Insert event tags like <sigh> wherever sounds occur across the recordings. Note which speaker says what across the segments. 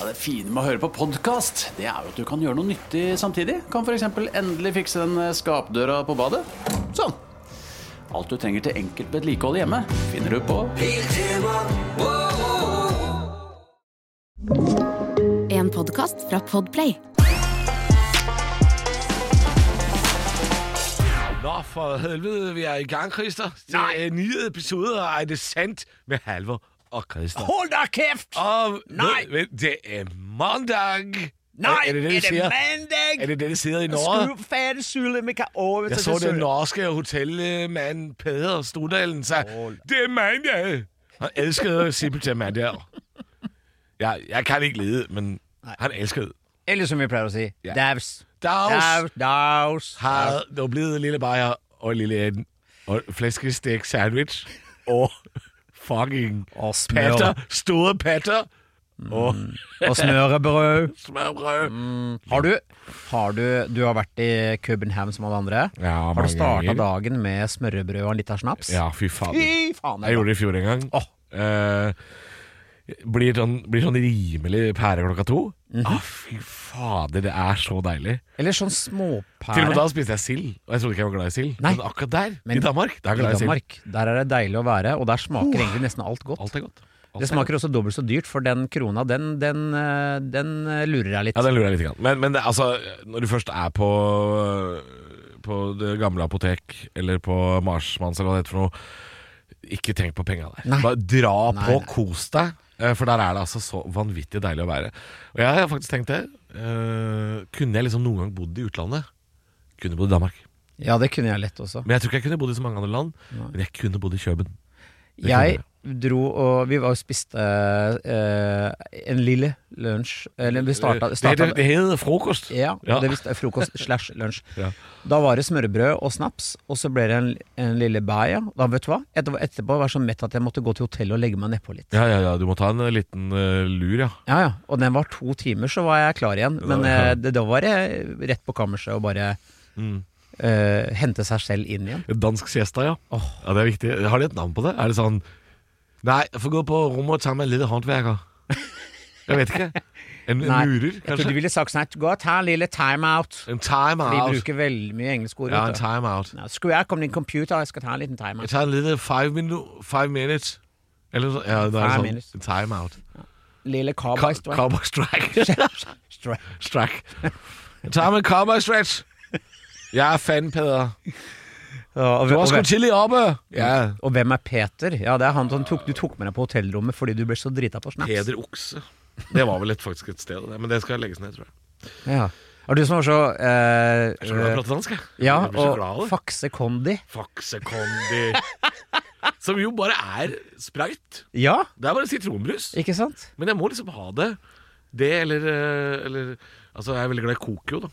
Speaker 1: Ja, det fine med å høre på podkast, det er jo at du kan gjøre noe nyttig samtidig. Kan f.eks. endelig fikse den eh, skapdøra på badet. Sånn. Alt du trenger til enkelt vedlikehold hjemme, finner du på
Speaker 2: En podcast fra Podplay
Speaker 3: Nå, for helvede, vi er i gang, Christer. Det er en ny episode af Er det sandt med Halvor og Christer.
Speaker 4: Hold da kæft!
Speaker 3: Og
Speaker 4: Nej.
Speaker 3: Ved, ved, det er mandag.
Speaker 4: Nej,
Speaker 3: er, er det det,
Speaker 4: er
Speaker 3: de
Speaker 4: det
Speaker 3: siger?
Speaker 4: mandag?
Speaker 3: Er det det, de siger i Norge?
Speaker 4: Skulle fatte sylde med kaover.
Speaker 3: Jeg så
Speaker 4: øh,
Speaker 3: den norske hotelmand Peder Strudalen sagde, det er mandag. Han elskede simpelthen mandag. Jeg, jeg kan ikke lede, men han elskede.
Speaker 4: Eller som vi pleier å si,
Speaker 3: Ja.
Speaker 4: daus.
Speaker 3: Dags
Speaker 4: Daus, daus.
Speaker 3: har der blevet lille bajer og lille anden og flæskestik sandwich og fucking
Speaker 4: Og smør.
Speaker 3: patter, store patter og
Speaker 4: Og smørbrød.
Speaker 3: smørbrød.
Speaker 4: Har du, har du Du har vært i København som alle andre.
Speaker 3: Ja,
Speaker 4: har
Speaker 3: mange
Speaker 4: du starta
Speaker 3: ganger.
Speaker 4: dagen med smørbrød og en liten snaps?
Speaker 3: Ja, fy faen.
Speaker 4: Fy faen.
Speaker 3: Jeg gjorde det i fjor en gang.
Speaker 4: Åh.
Speaker 3: Eh, blir, sånn, blir sånn rimelig pære klokka to.
Speaker 4: Mhm.
Speaker 3: ah, fy fader, det er så deilig.
Speaker 4: Eller sånn
Speaker 3: Til og med
Speaker 4: småpære.
Speaker 3: da spiste jeg sild, og jeg trodde ikke jeg var glad i sild.
Speaker 4: Nei.
Speaker 3: Men akkurat der,
Speaker 4: Men
Speaker 3: i Danmark, der er jeg
Speaker 4: I
Speaker 3: glad i sild.
Speaker 4: Danmark, der er det deilig å være, og der smaker egentlig nesten alt godt.
Speaker 3: Alt er godt. Alt
Speaker 4: Det
Speaker 3: er godt.
Speaker 4: smaker også dobbelt så dyrt, for den krona, den, den, eh, den eh, lurer deg litt.
Speaker 3: Ja, den lurer jeg litt. Grann. Men, men det, altså, når du først er på På det gamle apotek, eller på Marsmanns, eller hva det heter for noe, ikke tenk på penga der.
Speaker 4: Nei.
Speaker 3: Bare dra
Speaker 4: Nei,
Speaker 3: på,
Speaker 4: nei.
Speaker 3: kos deg. eh, For der er det altså så vanvittig deilig å være. Og jeg har faktisk tenkt det. eh, kunne jeg liksom noen gang bodd i utlandet? Kunne bodd i Danmark.
Speaker 4: Ja, det kunne jeg lett også.
Speaker 3: Men jeg tror ikke jeg kunne bodd i så mange andre land. Men jeg kunne bodd i Kjøben. Det
Speaker 4: Jeg
Speaker 3: kunne
Speaker 4: dro og Vi var og spiste eh, en lille lunsj Eller vi starta,
Speaker 3: Det
Speaker 4: starta
Speaker 3: heter, det heter frokost.
Speaker 4: ja,
Speaker 3: Ja.
Speaker 4: det visste jeg, frokost slash lunsj.
Speaker 3: <laughs> Ja.
Speaker 4: Da var det smørbrød og snaps, og så ble det en, en lille bæja. Da vet du hva? Etterpå, etterpå var jeg så mett at jeg måtte gå til hotellet og legge meg nedpå litt.
Speaker 3: Ja, ja, ja. Du må ta en eh, liten eh, lur, ja.
Speaker 4: Ja, ja. Og den var to timer, så var jeg klar igjen. Men
Speaker 3: Ja, Mm. ja.
Speaker 4: eh, det, da var det rett på kammerset og bare eh, hente seg selv inn igjen.
Speaker 3: Dansk siesta, ja. Ja, Det er viktig. Har de et navn på det? Er det sånn Nei, jeg får gå på rommet og ta meg en lille
Speaker 4: <laughs>
Speaker 3: håndverker. Jeg vet ikke. En, en
Speaker 4: Nei,
Speaker 3: murer,
Speaker 4: Jeg tror
Speaker 3: kanskje?
Speaker 4: de ville sagt sånn her, gå og ta en lille timeout.
Speaker 3: En
Speaker 4: De
Speaker 3: timeout.
Speaker 4: bruker veldig mye engelske ord.
Speaker 3: altså-
Speaker 4: vet
Speaker 3: Ja, en
Speaker 4: du.
Speaker 3: timeout.
Speaker 4: Nå, skru av kom din computer, jeg skal ta en liten timer.
Speaker 3: Jeg tar en lille five, minu five minutes. Eller så, ja, det er
Speaker 4: Five
Speaker 3: sånn.
Speaker 4: minutes.
Speaker 3: En timeout.
Speaker 4: Lille
Speaker 3: Ca-
Speaker 4: cowboy strike.
Speaker 3: Cowboy strike. <laughs>
Speaker 4: <laughs>
Speaker 3: strike. Jeg tar meg en cowboy stretch. Jeg er fan, Peder.
Speaker 4: og,
Speaker 3: Du har
Speaker 4: og,
Speaker 3: sgu tidlig oppe.
Speaker 4: Mm.
Speaker 3: Ja.
Speaker 4: og hvem er Peter? Ja, det er han som tok, du tok med deg på hotellrommet fordi du ble så drita på snaps.
Speaker 3: Peder Okse. Det var vel et, faktisk et sted, det. men det skal legges ned, tror jeg.
Speaker 4: Ja. Og du som var så eh,
Speaker 3: Jeg skal prate dansk, jeg.
Speaker 4: Ja,
Speaker 3: jeg blir så glad av
Speaker 4: og
Speaker 3: det.
Speaker 4: Faxe Kondi.
Speaker 3: Faksekondi. <laughs> Som jo bare er sprayt.
Speaker 4: Ja,
Speaker 3: Det er bare sitronbrus.
Speaker 4: ikke sant?
Speaker 3: Men jeg må liksom ha det. Det eller, eh, eller Altså, jeg er veldig glad i Kokio, da.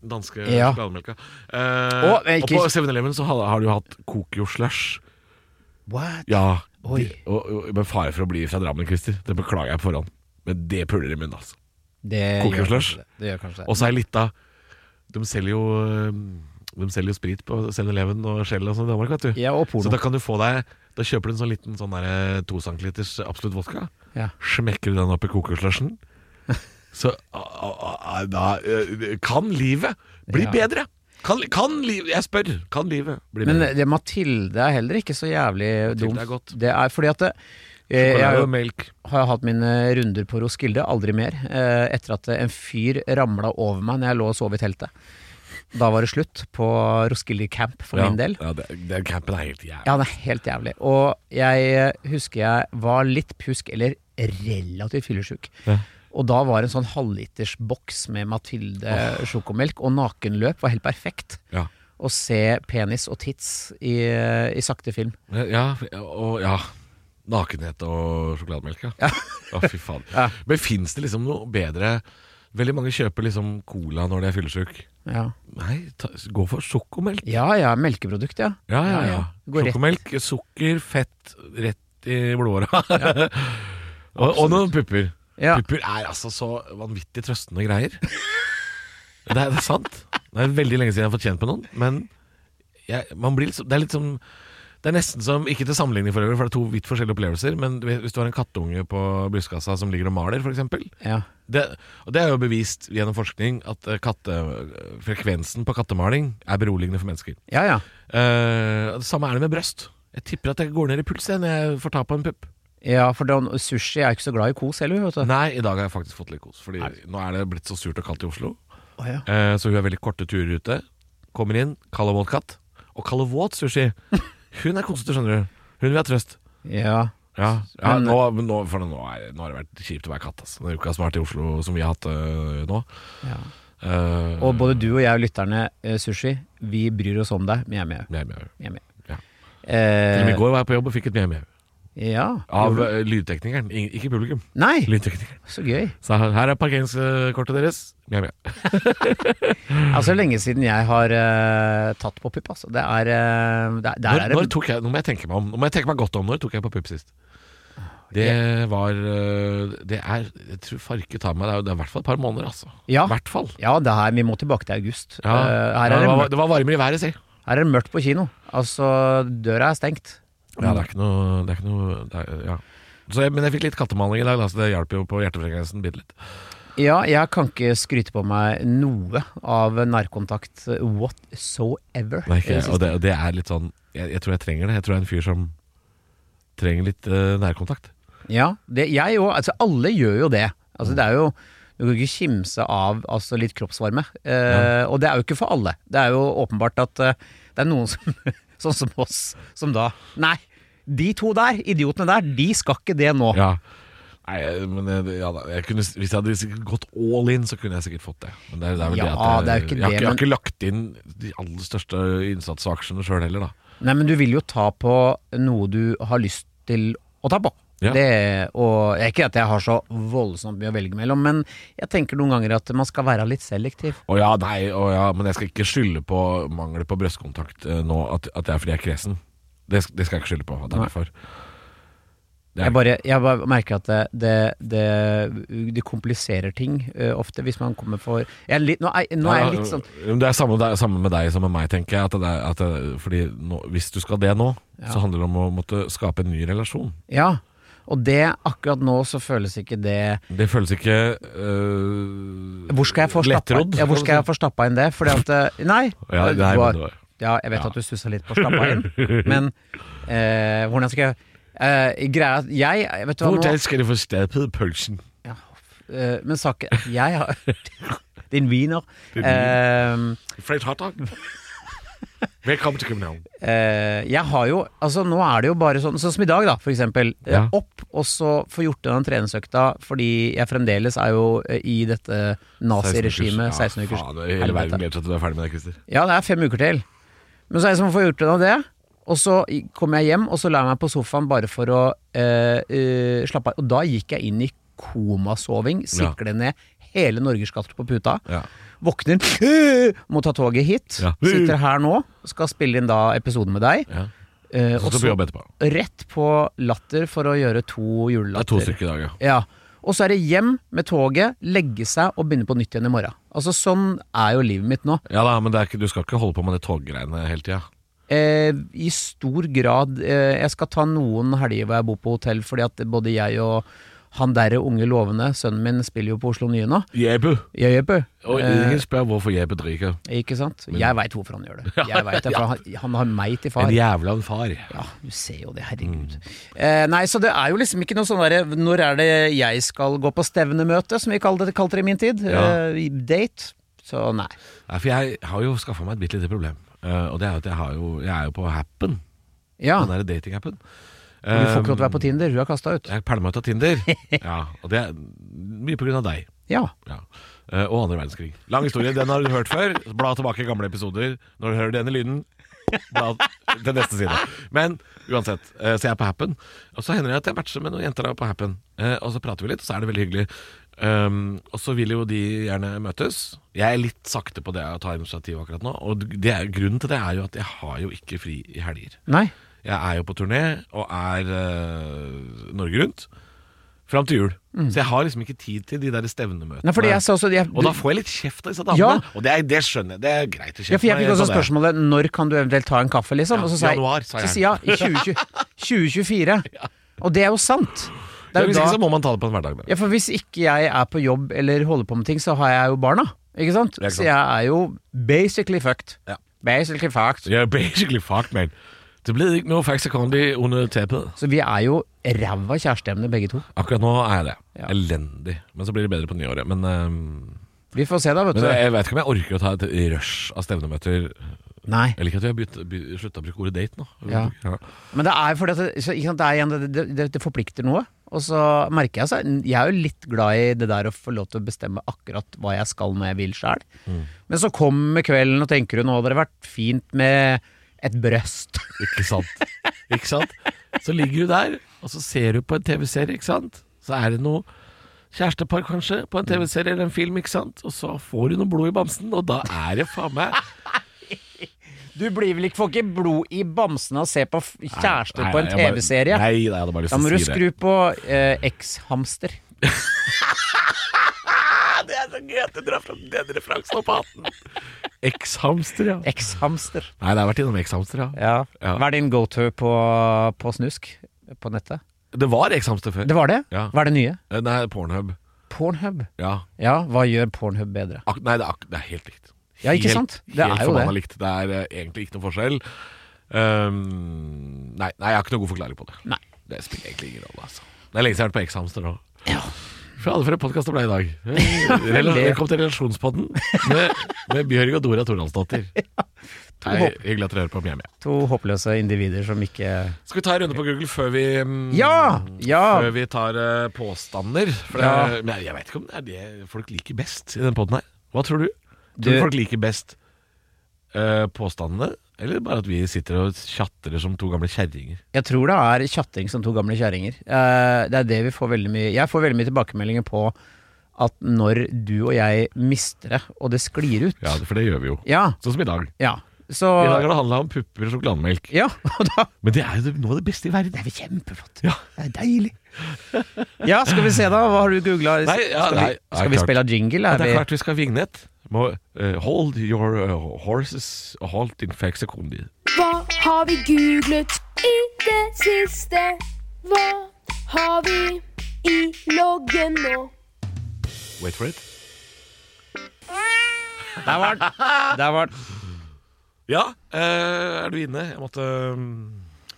Speaker 3: Den Danske
Speaker 4: Ja.
Speaker 3: sjokolademelka.
Speaker 4: Å,
Speaker 3: Eh,
Speaker 4: men
Speaker 3: og
Speaker 4: ikke-
Speaker 3: på 7-Eleven så har, har du hatt Kokio-slush.
Speaker 4: What?
Speaker 3: Ja.
Speaker 4: Oi.
Speaker 3: De- Og, og, med fare for å bli fra Drammen, Christer. Det beklager jeg på forhånd. Men det puler i munnen, altså.
Speaker 4: Det
Speaker 3: Koker
Speaker 4: gjør
Speaker 3: slush.
Speaker 4: kanskje det. det, gjør kanskje det.
Speaker 3: Og så er det litt av De selger jo eh, De selger jo sprit på 7-Eleven og Shell og sånn i Danmark, vet du.
Speaker 4: Ja, og
Speaker 3: Så da
Speaker 4: porno.
Speaker 3: kan du få deg Da kjøper du en sånn liten sånn der, to centiliters absolutt vodka.
Speaker 4: Ja.
Speaker 3: Smekker du den opp i
Speaker 4: <laughs>
Speaker 3: kokoslushen, så a, a, a, da eh, kan livet bli
Speaker 4: Ja.
Speaker 3: bedre. Kan, kan livet Jeg spør. Kan livet bli
Speaker 4: Men eh,
Speaker 3: bedre?
Speaker 4: det, Mathilde er heller ikke så jævlig
Speaker 3: Mathilde
Speaker 4: dum.
Speaker 3: er godt.
Speaker 4: Det er fordi at det, eh, jeg, har
Speaker 3: Sjokolade
Speaker 4: jo
Speaker 3: og melk.
Speaker 4: har jeg hatt mine runder på Roskilde, aldri mer, eh, etter at en fyr ramla over meg når jeg lå og sov i teltet. Da var det slutt på Roskilde camp for min del.
Speaker 3: Ja, det, den campen er helt jævlig.
Speaker 4: Ja, det er helt jævlig. Og jeg eh, husker jeg var litt pjusk, eller relativt fyllesyk.
Speaker 3: Ja.
Speaker 4: Og da var en sånn halvliters boks med Mathilde sjokomelk, og nakenløp var helt perfekt.
Speaker 3: Ja.
Speaker 4: Å se penis og tits i, eh, i sakte film.
Speaker 3: Eh, Ja, og ja Nakenhet og sjokolademelk, ja. Å, fy faen.
Speaker 4: <laughs> Ja.
Speaker 3: Men fins det liksom noe bedre Veldig mange kjøper liksom cola når de er fyllesyke.
Speaker 4: Ja,
Speaker 3: Nei, ta, gå for sjokomelk.
Speaker 4: ja, ja melkeprodukt, ja.
Speaker 3: Ja, ja, ja.
Speaker 4: Går rett.
Speaker 3: Sjokomelk, sukker, fett rett i blodåra. <laughs> og, og noen pupper.
Speaker 4: Ja.
Speaker 3: Pupper er altså så vanvittig trøstende greier. det, er, det er sant. Det er veldig lenge siden jeg har fått kjent på noen, men jeg, man blir liksom, det er litt som Det er nesten som, ikke til sammenligning for øvrig, for det er to vidt forskjellige opplevelser, men du vet, hvis du har en kattunge på brystkassa som ligger og maler, for eksempel,
Speaker 4: Ja.
Speaker 3: det, og det er jo bevist gjennom forskning at eh, katte, frekvensen på kattemaling er beroligende for mennesker.
Speaker 4: ja, ja.
Speaker 3: Eh, og det samme er det med brøst. Jeg tipper at jeg går ned i puls jeg, når jeg får ta på en pupp.
Speaker 4: Ja, for den- sushi er jo ikke så glad i kos heller, vet du.
Speaker 3: <laughs> Nei, i dag har jeg faktisk fått litt kos, Fordi nå er det blitt så surt og kaldt i Oslo.
Speaker 4: Å, ja.
Speaker 3: Eh, Så hun er veldig korte turer ute. Kommer inn, kald og våt katt. Og kald og våt <laughs> sushi. Hun er kosete, skjønner du. Hun vil ha trøst.
Speaker 4: ja.
Speaker 3: Ja, ja
Speaker 4: Men-
Speaker 3: nå, men nå, for nå, er, nå har det vært kjipt å være katt. Altså. Det er jo ikke så smart i Oslo som vi har hatt øh, nå. Eh,
Speaker 4: Og både du og jeg og lytterne, eh, sushi, vi bryr oss om deg. Mjau, mjau.
Speaker 3: mjau, mjau.
Speaker 4: mjau, mjau.
Speaker 3: Ja. Til og med I
Speaker 4: Eh,
Speaker 3: går var jeg på jobb og fikk et mjau-mjau.
Speaker 4: ja.
Speaker 3: Av øh, lydteknikeren. Ing- ikke publikum. <laughs>
Speaker 4: Nei,
Speaker 3: Lydteknikeren.
Speaker 4: så gøy.
Speaker 3: Så her her er parkeringskortet deres. Mjau, mjau.
Speaker 4: Altså lenge siden jeg har eh, tatt på pupp, altså. Det er, eh, det er, der
Speaker 3: Når,
Speaker 4: er det
Speaker 3: når tok jeg, nå må jeg tenke meg om Nå må jeg tenke meg godt om Når tok jeg på pupp sist?
Speaker 4: Ah,
Speaker 3: Det var øh, Det er Jeg tror farke tar meg Det er, jo- det er i hvert fall et par måneder altså
Speaker 4: Ja.
Speaker 3: I hvert fall
Speaker 4: Ja, det her, vi må tilbake til august. Eh,
Speaker 3: ja.
Speaker 4: her,
Speaker 3: Ja,
Speaker 4: er det
Speaker 3: det, var,
Speaker 4: mørkt,
Speaker 3: det var varmere i været si Ja,
Speaker 4: her er det mørkt på kino. Altså, døra er stengt. Mm.
Speaker 3: det er ikke noe Det er ikke noe det er, Ja så jeg, men jeg fikk litt kattemaling i dag da, Så det hjalp jo på hjertefrekvensen bitte litt
Speaker 4: Ja, jeg kan ikke skryte på meg noe av nærkontakt whatsoever.
Speaker 3: Nei, ikke,
Speaker 4: Jeg synes-
Speaker 3: Eh, og, det, og det er litt sånn jeg, jeg tror jeg trenger det Jeg tror jeg er en fyr som Trenger litt øh, nærkontakt
Speaker 4: Ja, det, jeg òg. Altså, alle gjør jo det. Altså,
Speaker 3: Mm.
Speaker 4: det er jo du kan ikke kimse av altså, litt kroppsvarme. Eh, Og det er jo ikke for alle. Det er jo åpenbart at eh, det er noen som, <laughs> sånn som oss, som da Nei, de to der, idiotene der, de skal ikke det nå.
Speaker 3: Ja Nei, men jeg, ja, da, jeg kunne, hvis jeg hadde sikkert gått all in, så kunne jeg sikkert fått det. Men det, er- det er vel
Speaker 4: Ja,
Speaker 3: det
Speaker 4: det
Speaker 3: at jeg,
Speaker 4: er jo ikke
Speaker 3: jeg, har
Speaker 4: det,
Speaker 3: ikke- jeg har ikke lagt inn de aller største innsatsaksjene sjøl heller, da.
Speaker 4: Nei, men du vil jo ta på noe du har lyst til å ta på.
Speaker 3: Ja.
Speaker 4: Det, og det er ikke at jeg har så voldsomt mye å velge mellom, men jeg tenker noen ganger at man skal være litt selektiv.
Speaker 3: Å ja, nei, å ja, men jeg skal ikke skylde på mangel på brøstkontakt eh, nå, at, at det er fordi jeg er kresen. Det, sk- det skal jeg ikke skylde på. At det er
Speaker 4: Nei.
Speaker 3: derfor. Det er-
Speaker 4: Jeg bare, jeg bare merker at det, det, det, det kompliserer ting eh, ofte, hvis man kommer for jeg er litt, nå, er, nå er jeg litt sånn
Speaker 3: Men Det er samme, det er samme med deg som med meg, tenker jeg. At det er, at det, fordi nå, hvis du skal det nå, så handler det om å måtte skape en ny relasjon.
Speaker 4: Ja. Og det, akkurat nå, så føles ikke det
Speaker 3: Det føles ikke øh,
Speaker 4: Hvor skal jeg få stappa,
Speaker 3: lettrodd.
Speaker 4: ja, hvor skal jeg få stappa inn det? Fordi at eh, Nei.
Speaker 3: <laughs> Ja,
Speaker 4: Du
Speaker 3: nei,
Speaker 4: har-
Speaker 3: men det var-
Speaker 4: Ja, jeg vet at du stussa litt på å slappe inn,
Speaker 3: <laughs>
Speaker 4: men eh, hvordan skal jeg eh, Greia er at jeg Vet du hva nå
Speaker 3: Hvordan skal du få stappet pølsen?
Speaker 4: ja, eh, Men saken Jeg har <laughs> Din wiener. eh,
Speaker 3: Din Fred hotdog? Velkommen til København.
Speaker 4: Eh, eh, jeg har jo Altså, nå er det jo bare sånn Sånn som i dag, da, for eksempel. Eh,
Speaker 3: Ja.
Speaker 4: Opp, og så få gjort den treningsøkta, fordi jeg fremdeles er jo eh, i dette naziregimet. 16 ukers
Speaker 3: Ja, faen, hele verden vet at du er ferdig med det, Christer.
Speaker 4: Ja, det er fem uker til. Men så er det som å få gjort det av det. Og så i- kom jeg hjem, og så la jeg meg på sofaen bare for å eh, eh, slappe av. Og da gikk jeg inn i komasoving, sikle ned hele Norgeskartet på puta.
Speaker 3: Ja.
Speaker 4: Våkner, <laughs> øh, må ta toget hit.
Speaker 3: Ja.
Speaker 4: Sitter her nå, skal spille inn da episoden med deg.
Speaker 3: Ja.
Speaker 4: Eh,
Speaker 3: Så
Speaker 4: og
Speaker 3: skal du på
Speaker 4: så
Speaker 3: jobb etterpå.
Speaker 4: rett på latter for å gjøre to
Speaker 3: Det er to
Speaker 4: julelatter.
Speaker 3: stykker i dag, ja.
Speaker 4: Ja. Og så er det hjem med toget, legge seg og begynne på nytt igjen i morgen. Altså Sånn er jo livet mitt nå.
Speaker 3: Ja da, men det er ikke, du skal ikke holde på med det toggreiene hele tida.
Speaker 4: Eh, I stor grad. Eh, jeg skal ta noen helger hvor jeg bor på hotell, fordi at både jeg og han derre unge lovende, sønnen min, spiller jo på Oslo Nye nå.
Speaker 3: Jebu.
Speaker 4: Jeg gjør på.
Speaker 3: Og ingen spør hvorfor Jebu drikker.
Speaker 4: Ikke sant? Jeg veit hvorfor han gjør
Speaker 3: <laughs>
Speaker 4: det. Jeg vet det, for han, han har meg til
Speaker 3: En
Speaker 4: far.
Speaker 3: jævla en far.
Speaker 4: Ja, du ser jo det, herregud. Eh, nei, så det er jo liksom ikke noe sånn derre Når er det jeg skal gå på stevnemøte, som vi kalte det, kalte det i min tid?
Speaker 3: Ja.
Speaker 4: Eh, date? Så nei.
Speaker 3: Nei, for jeg har jo skaffa meg et bitte lite problem. Eh, og det er jo at jeg, har jo, jeg er jo på Happen.
Speaker 4: Ja.
Speaker 3: Den derre datingappen.
Speaker 4: Du får ikke lov til å være på Tinder, du er kasta ut.
Speaker 3: Jeg pælma ut av Tinder. Ja, og det er mye på grunn av deg.
Speaker 4: Ja.
Speaker 3: Ja. Eh, Og andre verdenskrig. Lang historie, den har du hørt før. Bla tilbake i gamle episoder. Når du hører denne lyden, bla til neste side. Men uansett, eh, så jeg er på Happen. Og så hender det at jeg matcher med noen jenter da på Happen. Eh, Og så prater vi litt, og så er det veldig hyggelig. Um, og så vil jo de gjerne møtes. Jeg er litt sakte på det å ta initiativ akkurat nå. Og det er, grunnen til det er jo at jeg har jo ikke fri i helger.
Speaker 4: Nei.
Speaker 3: Jeg er jo på turné og er eh, Norge rundt. fram til jul. Så jeg har liksom ikke tid til de der stevnemøtene.
Speaker 4: Mm. Nei, fordi jeg sa også jeg,
Speaker 3: og da får jeg litt kjeft av disse damene.
Speaker 4: Ja.
Speaker 3: Og det, er, det skjønner jeg. Det er greit å kjefte
Speaker 4: ja, for jeg fikk
Speaker 3: meg,
Speaker 4: også
Speaker 3: sånn er jeg.
Speaker 4: spørsmålet når kan du eventuelt ta en kaffe, liksom.
Speaker 3: Ja,
Speaker 4: og så sa jeg,
Speaker 3: januar, sa jeg.
Speaker 4: Så sier jeg i 2024. Og det er jo sant. Det er
Speaker 3: ja,
Speaker 4: jo
Speaker 3: hvis ikke så
Speaker 4: da,
Speaker 3: må sånn man ta det på en hverdag. da.
Speaker 4: ja, for hvis ikke jeg er på jobb eller holder på med ting, så har jeg jo barna. Ikke sant?
Speaker 3: Ja, ikke sant.
Speaker 4: Så jeg er jo basically fucked.
Speaker 3: Ja.
Speaker 4: Basically fucked.
Speaker 3: <laughs> Jeg er basically fucked, man. Det blir ikke noe fax economy under teppet.
Speaker 4: Så vi er jo ræva kjæresteemner begge to.
Speaker 3: Akkurat nå er jeg det.
Speaker 4: Ja.
Speaker 3: Elendig. Men så blir det bedre på nyåret. Men, ehm,
Speaker 4: Vi får se da, vet du.
Speaker 3: men jeg, jeg vet ikke om jeg orker å ta et rush av stevnemøter.
Speaker 4: Nei.
Speaker 3: Jeg liker at vi har begynt- be- slutta å bruke ordet date nå.
Speaker 4: Ja. Men det er fordi at det, så, ikke sant, det, er igjen, det- det, det, det forplikter noe. Og så merker jeg seg Jeg er jo litt glad i det der å få lov til å bestemme akkurat hva jeg skal når jeg vil sjæl.
Speaker 3: Mm.
Speaker 4: Men så kommer kvelden, og tenker du nå hadde det vært fint med et brøst. <laughs>
Speaker 3: Ikke sant? Ikke sant? Så ligger du der, og så ser du på en TV-serie, ikke sant? Så er det noe kjærestepar, kanskje, på en TV-serie eller en film, ikke sant? Og så får du noe blod i bamsen, og da er det faen meg
Speaker 4: Du blir vel ikke, får ikke blod i bamsen av å se på f- kjærester
Speaker 3: Nei,
Speaker 4: på en
Speaker 3: jeg bare-
Speaker 4: TV-serie?
Speaker 3: Nei, nei, jeg hadde bare lyst
Speaker 4: Da må
Speaker 3: til å
Speaker 4: du
Speaker 3: si det.
Speaker 4: skru på eh, X-hamster.
Speaker 3: Det er så gøy at du drar fram den referansen opp hatten. X-hamster, ja.
Speaker 4: X-hamster.
Speaker 3: Nei, det har vært innom X-hamster, ja.
Speaker 4: Ja.
Speaker 3: Ja.
Speaker 4: Hva er din go-to på, på snusk på nettet?
Speaker 3: Det var X-hamster før.
Speaker 4: Det var det?
Speaker 3: Ja.
Speaker 4: Hva er det nye?
Speaker 3: Eh, Nei, Pornhub.
Speaker 4: Pornhub.
Speaker 3: Ja.
Speaker 4: Ja, hva gjør Pornhub bedre?
Speaker 3: Ak nei, det er, ak det er helt likt.
Speaker 4: Ja, ikke
Speaker 3: helt,
Speaker 4: sant? Det
Speaker 3: helt
Speaker 4: er jo det.
Speaker 3: forbanna likt. Det er eh, egentlig ikke noe forskjell. Ehm, nei, nei, jeg har ikke noen god forklaring på det.
Speaker 4: Nei.
Speaker 3: Det spiller egentlig ingen rolle, altså. Det er lenge siden jeg har vært på X-Hamster nå. Fy fader, for en podkast det ble i dag.
Speaker 4: <laughs>
Speaker 3: Eh, rela-
Speaker 4: veldig.
Speaker 3: Velkommen til Relasjonspodden med, med Bjørg og Dora
Speaker 4: <laughs>
Speaker 3: Toralsdottir. Nei,
Speaker 4: håp.
Speaker 3: Hyggelig at dere hører på Mjau Mjau.
Speaker 4: To håpløse individer som ikke
Speaker 3: Skal vi ta en runde på Google før vi mm,
Speaker 4: Ja! Ja!
Speaker 3: Før vi tar eh, påstander. For det,
Speaker 4: Ja.
Speaker 3: men jeg vet ikke om det er det folk liker best i den poden her. Hva tror du?
Speaker 4: Du-
Speaker 3: Tror du folk liker best eh, påstandene, eller bare at vi sitter og tjatrer som to gamle kjerringer?
Speaker 4: Jeg tror det er tjatting som to gamle kjerringer. Eh, Det er det vi får veldig mye Jeg får veldig mye tilbakemeldinger på at når du og jeg mister det, og det sklir ut
Speaker 3: Ja, for det gjør vi jo.
Speaker 4: Ja.
Speaker 3: Sånn som i dag.
Speaker 4: ja. Så
Speaker 3: I dag har det handla om pupper og sjokolademelk.
Speaker 4: Ja, og da
Speaker 3: Men det er jo det- noe av det beste i verden.
Speaker 4: Det er kjempeflott.
Speaker 3: Ja.
Speaker 4: Det er deilig. Ja, skal vi se da. Hva har du googla?
Speaker 3: Nei, ja,
Speaker 4: skal,
Speaker 3: nei,
Speaker 4: vi-
Speaker 3: det er
Speaker 4: skal vi
Speaker 3: klart.
Speaker 4: spille av jingle?
Speaker 3: Ja,
Speaker 4: Er
Speaker 3: det er
Speaker 4: vi
Speaker 3: klart vi skal ha vignett. Må, eh, hold your eh, horses halt in fact sekundi.
Speaker 5: Hva har vi googlet i det siste? Hva har vi i loggen nå?
Speaker 3: Wait for it.
Speaker 4: Der var den. Der var den.
Speaker 3: Ja, eh, er du inne? Jeg måtte mm,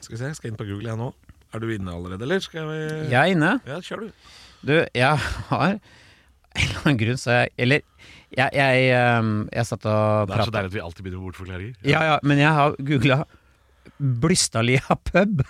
Speaker 3: Skal vi se, jeg skal inn på Google jeg nå. Er du inne allerede, eller skal vi
Speaker 4: Jeg er inne.
Speaker 3: Ja, kjør du.
Speaker 4: Du, jeg har En eller annen grunn så jeg Eller jeg, jeg, ehm, jeg satt og
Speaker 3: Det er så
Speaker 4: prata
Speaker 3: deilig at vi alltid begynner med bortforklaringer.
Speaker 4: Ja, ja, men jeg har googla Blystadlia pub.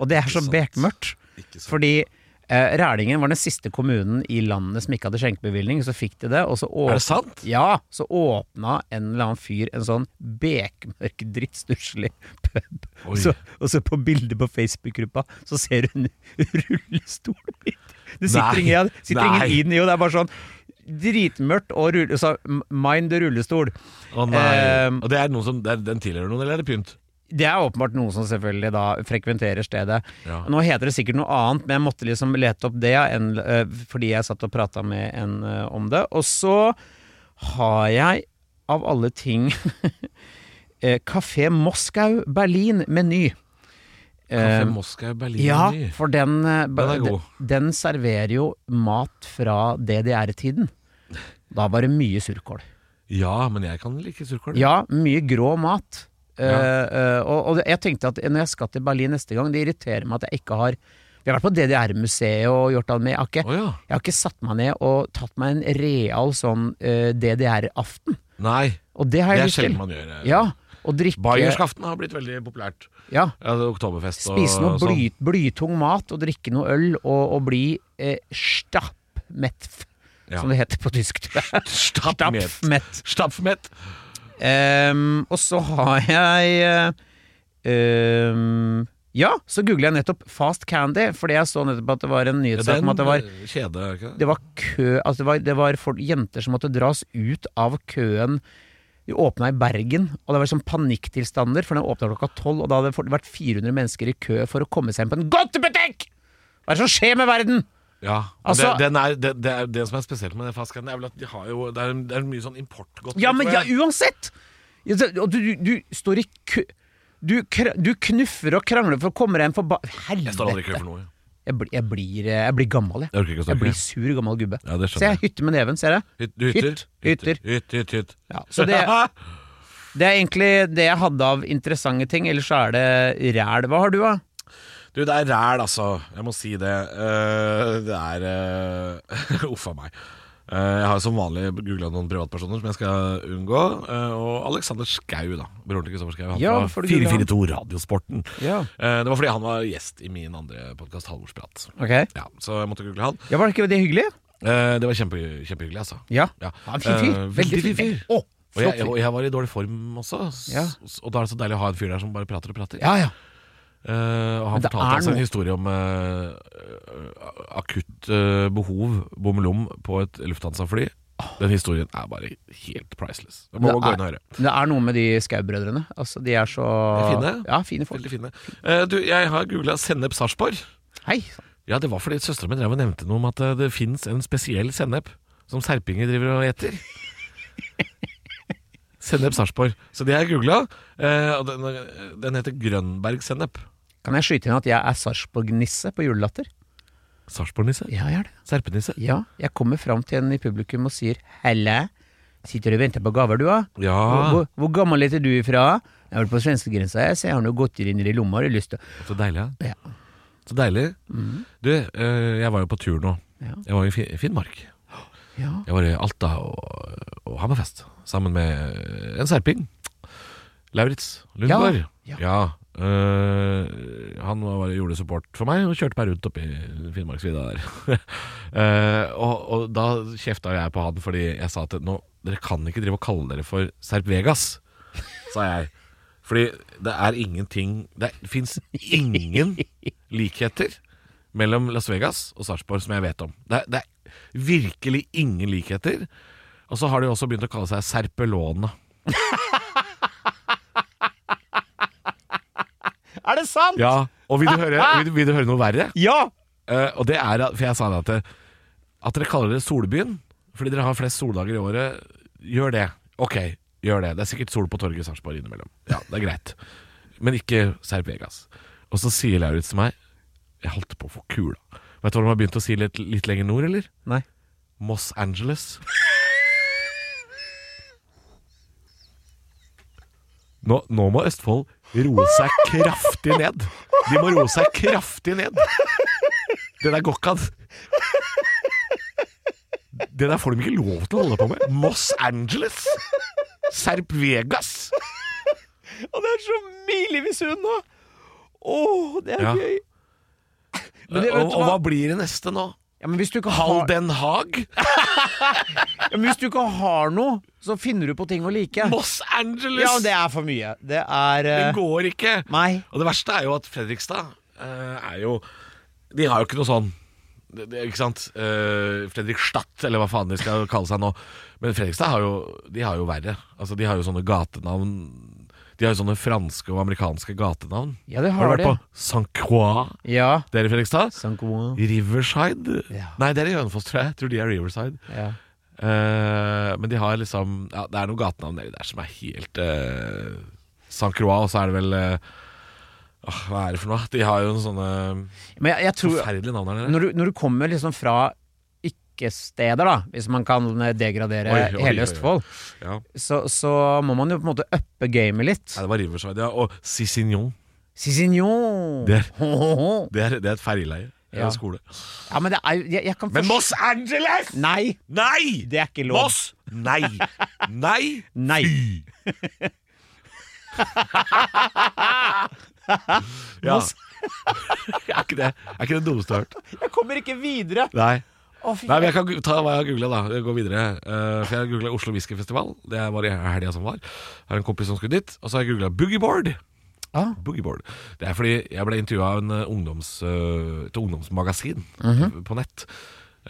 Speaker 4: Og det er så
Speaker 3: sant.
Speaker 4: bekmørkt.
Speaker 3: Ikke sant.
Speaker 4: Fordi eh, Rælingen var den siste kommunen i landet som ikke hadde skjenkebevilgning. Så fikk de det, og så
Speaker 3: Er
Speaker 4: åpna
Speaker 3: det sant?
Speaker 4: Ja, så åpna en eller annen fyr en sånn bekmørk, drittstusslig pub.
Speaker 3: Oi.
Speaker 4: Så, og så på bildet på Facebook-gruppa, så ser du en <laughs> rullestol midt. Det sitter,
Speaker 3: Nei.
Speaker 4: ingen, igjen- sitter
Speaker 3: Nei.
Speaker 4: ingen inn i, og det er bare sånn dritmørkt og rulle... Så, mind the rullestol.
Speaker 3: Å nei.
Speaker 4: Ehm.
Speaker 3: Og det er noen som det er, Den tilhører noen, eller er det pynt?
Speaker 4: Det er åpenbart noen som selvfølgelig da frekventerer stedet.
Speaker 3: Ja.
Speaker 4: Nå heter det sikkert noe annet, men jeg måtte liksom lete opp det enn, eh, fordi jeg satt og prata med en eh, om det. Og så har jeg av alle ting <laughs> eh, Kafé Moskau Berlin Meny.
Speaker 3: Kafé
Speaker 4: Eh,
Speaker 3: Moskau Berlin
Speaker 4: ja,
Speaker 3: Meny.
Speaker 4: for den, eh, ba-
Speaker 3: Den er god.
Speaker 4: de- den serverer jo mat fra DDR-tiden. Da var det mye surkål.
Speaker 3: ja, men jeg kan like surkål.
Speaker 4: Ja, mye grå mat. Eh,
Speaker 3: Ja.
Speaker 4: eh, og, og det- jeg tenkte at når jeg skal til Berlin neste gang, det irriterer meg at jeg ikke har Vi har vært på DDR-museet og gjort alt med. Jeg har, ikke,
Speaker 3: Å ja.
Speaker 4: jeg har ikke satt meg ned og tatt meg en real sånn eh, DDR-aften.
Speaker 3: Nei,
Speaker 4: Og det har jeg
Speaker 3: det er
Speaker 4: lyst til.
Speaker 3: sjelden man gjør. eh.
Speaker 4: Ja, og drikke
Speaker 3: Bayerskaften har blitt veldig populært.
Speaker 4: Ja,
Speaker 3: Ja, det er Oktoberfest og
Speaker 4: spise noe
Speaker 3: og sånn.
Speaker 4: bly, blytung mat og drikke noe øl og, og bli eh, stappmett,
Speaker 3: Ja.
Speaker 4: som det heter på tysk. tror jeg.
Speaker 3: Stappmett.
Speaker 4: Stappmett.
Speaker 3: Stappmett.
Speaker 4: Ehm, og så har jeg eh, ehm, Ja, så googla jeg nettopp Fast Candy, fordi jeg så nettopp at det var en
Speaker 3: Ja,
Speaker 4: nyhetssak
Speaker 3: den
Speaker 4: om at det var
Speaker 3: eh, kjede, er ikke det?
Speaker 4: det var kø altså det var, det var folk, jenter som måtte dras ut av køen. De åpna i Bergen, og det var sånn panikktilstander, for den åpna klokka tolv, og da hadde det vært 400 mennesker i kø for å komme seg inn på en godtebutikk! Hva er det som skjer med verden?
Speaker 3: Ja, og
Speaker 4: Altså-
Speaker 3: det, den er, det, det, er, det som er spesielt med den flasken, er vel at de har jo, det, er, det er mye sånn importgodt.
Speaker 4: Ja, men
Speaker 3: tror
Speaker 4: ja,
Speaker 3: jeg.
Speaker 4: uansett! Ja, så- Og du, du, du står i kø du, kra- du knuffer og krangler for å komme deg en forba...
Speaker 3: Jeg står aldri i kø
Speaker 4: Helvete!
Speaker 3: for noe.
Speaker 4: Jeg, blir- jeg, blir, eh, jeg blir gammel, jeg.
Speaker 3: Jeg orker ikke å
Speaker 4: Jeg
Speaker 3: snakke.
Speaker 4: blir sur gammel gubbe.
Speaker 3: Ja, det skjønner
Speaker 4: ser jeg
Speaker 3: jeg.
Speaker 4: hytter med neven, ser jeg.
Speaker 3: Hyt- du hytter?
Speaker 4: Hytt, hytter.
Speaker 3: Hytt, hytt, hytt.
Speaker 4: Ja, så det, det er egentlig det jeg hadde av interessante ting, ellers så er det ræl. Hva har du, da?
Speaker 3: <laughs> Du, det er ræl, altså. Jeg må si det. Eh, det er eh, <laughs> Uff a meg. Eh, jeg har som vanlig googla noen privatpersoner som jeg skal unngå. eh, og Alexander Schou, da. Broren til Kristoffer Schou. Han
Speaker 4: Ja,
Speaker 3: fra
Speaker 4: hvorfor du googlet
Speaker 3: 442 Radiosporten.
Speaker 4: Ja.
Speaker 3: Eh, det var fordi han var gjest i min andre podkast, Halvorsprat.
Speaker 4: Ok.
Speaker 3: Ja, så jeg måtte google han.
Speaker 4: Ja, Var det ikke det hyggelig?
Speaker 3: Eh, det var kjempe, kjempehyggelig, altså.
Speaker 4: Ja.
Speaker 3: Ja.
Speaker 4: Han er en fin fyr.
Speaker 3: Eh,
Speaker 4: Veldig fin fyr. Å,
Speaker 3: Og jeg,
Speaker 4: flott
Speaker 3: jeg,
Speaker 4: fyr.
Speaker 3: og jeg var i dårlig form også, s-
Speaker 4: Ja.
Speaker 3: s- og da er det så deilig å ha en fyr der som bare prater og prater.
Speaker 4: Ja, ja.
Speaker 3: Eh, og han
Speaker 4: Men det
Speaker 3: fortalte
Speaker 4: er
Speaker 3: altså en
Speaker 4: noe-
Speaker 3: historie om eh, eh, akutt eh, behov, bomlom, på et Lufthansa-fly. Den historien er bare helt priceless. Du må
Speaker 4: Det
Speaker 3: gå
Speaker 4: er-
Speaker 3: inn og høre.
Speaker 4: Men Det er noe med de Skau-brødrene. Altså, de er så
Speaker 3: De er fine.
Speaker 4: Ja, fine folk.
Speaker 3: Veldig fine. Eh, du, jeg har googla Sennep Sarpsborg.
Speaker 4: Hei.
Speaker 3: Ja, det var fordi søstera mi drev og nevnte noe om at eh, det fins en spesiell sennep som serpinger driver og eter. <laughs> Sennep Sarpsborg. Så det har jeg googla. Den, eh, den heter Grønberg-sennep.
Speaker 4: Kan jeg skyte inn at jeg er Sarpsborg-nisse på julelatter?
Speaker 3: Sarpsborg-nisse?
Speaker 4: Ja, jeg er det.
Speaker 3: Serpenisse?
Speaker 4: Ja, Jeg kommer fram til en i publikum og sier 'helle'. Sitter du og venter på gaver, du, da? Hvor,
Speaker 3: Ja,
Speaker 4: hvor, hvor gammel heter du ifra? Jeg har vært på svenskegrensa, jeg, så jeg har noe godteri nedi lomma. Har du lyst til å
Speaker 3: så deilig. ja.
Speaker 4: ja. Mm.
Speaker 3: Så deilig. Du, eh, jeg var jo på tur nå.
Speaker 4: Ja.
Speaker 3: Jeg var i Fi- Finnmark.
Speaker 4: ja.
Speaker 3: Jeg var i Alta og, og Hammerfest sammen med en serping. Lauritz Lundgaard.
Speaker 4: Ja, ja.
Speaker 3: eh, han var, gjorde support for meg og kjørte meg rundt oppi Finnmarksvidda der. <laughs> Eh, og, og da kjefta jeg på han fordi jeg sa at nå, dere kan ikke drive og kalle dere for Serp Vegas, sa jeg. Fordi det er ingenting Det fins ingen likheter mellom Las Vegas og Sarpsborg som jeg vet om. Det er, det er virkelig ingen likheter. Og så har de også begynt å kalle seg Serpelone.
Speaker 4: Er det sant?!
Speaker 3: Ja, og vil du høre,
Speaker 4: <laughs>
Speaker 3: vil, du- vil du høre noe verre?
Speaker 4: Ja!
Speaker 3: Eh, og det er, at- for jeg sa det at, det- at dere kaller det Solbyen, fordi dere har flest soldager i året. Gjør det. Ok, gjør det. Det er sikkert sol på torget i Sarpsborg innimellom. Ja, det er greit. Men ikke Serp Vegas. Og så sier Lauritz til meg Jeg holdt på å få kula. Vet du hva de har begynt å si litt, litt lenger nord, eller?
Speaker 4: Nei.
Speaker 3: Moss Angeles. Nå, nå må Østfold roe seg kraftig ned. De må roe seg kraftig ned. Det der går ikke an. Det der får de ikke lov til å holde på med. Moss Angeles. Serp Vegas.
Speaker 4: Og det er så milevis unna! Å, det
Speaker 3: Ja.
Speaker 4: Men det,
Speaker 3: og,
Speaker 4: vet du
Speaker 3: og hva
Speaker 4: hva?
Speaker 3: blir det neste nå?
Speaker 4: Ja, men hvis du ikke har,
Speaker 3: Halden Haag?
Speaker 4: ja, men hvis du ikke har noe, så finner du på ting å like.
Speaker 3: Moss Angeles!
Speaker 4: Ja, det er for mye. Det er
Speaker 3: det
Speaker 4: eh,
Speaker 3: går ikke.
Speaker 4: Nei.
Speaker 3: Og det verste er jo at Fredrikstad eh, er jo De har jo ikke noe sånn det, det, Ikke sant? Eh, Fredrikstad, eller hva faen de skal kalle seg nå. Men Fredrikstad har jo, de har jo verre. Altså, de har jo sånne gatenavn De har jo sånne franske og amerikanske gatenavn.
Speaker 4: Ja, det
Speaker 3: har
Speaker 4: har
Speaker 3: du
Speaker 4: de.
Speaker 3: vært på St. Croix?
Speaker 4: Ja.
Speaker 3: Det er i Fredrikstad?
Speaker 4: Saint-Gobain.
Speaker 3: Riverside?
Speaker 4: Ja.
Speaker 3: Nei, det er i Hønefoss, tror jeg. jeg. Tror de er Riverside.
Speaker 4: Ja.
Speaker 3: Eh, men de har liksom ja, Det er noen gatenavn nedi der som er helt uh, San Croix, og så er det vel eh, åh, Hva er det for noe? De har jo noen sånne
Speaker 4: Men jeg, jeg tror
Speaker 3: forferdelige navn der nede.
Speaker 4: når du, når du kommer liksom fra ikke-steder, da, hvis man kan eh, degradere
Speaker 3: Oi, oi, oi, oi.
Speaker 4: hele Østfold,
Speaker 3: Ja.
Speaker 4: så, så må man jo på en måte uppe gamet litt.
Speaker 3: Nei, det var Riverside, ja. Og Cicignon.
Speaker 4: Cisignon!
Speaker 3: Det er-
Speaker 4: Ho, ho, ho.
Speaker 3: Det er, det er et fergeleie. Ja.
Speaker 4: Ja.
Speaker 3: En skole.
Speaker 4: Ja, men det er jo jeg, jeg kan
Speaker 3: Men
Speaker 4: forst-
Speaker 3: Moss Angeles!
Speaker 4: Nei!
Speaker 3: Nei!
Speaker 4: Det er ikke lov.
Speaker 3: Moss! Nei! Nei!
Speaker 4: Nei.
Speaker 3: ja. <laughs> er ikke det Er ikke det dummeste jeg har hørt?
Speaker 4: Jeg kommer ikke videre!
Speaker 3: Nei.
Speaker 4: Å, fy
Speaker 3: Nei, men Jeg kan gu- ta hva jeg har googla, da. Gå videre. Eh, for Jeg har googla Oslo Whiskyfestival. Det var i helga som var. Jeg har en kompis som skulle dit. Og så har jeg googla Boogieboard.
Speaker 4: Ah.
Speaker 3: Boogieboard. Det er fordi jeg ble intervjua av en eh, ungdoms, eh, et ungdomsmagasin på nett.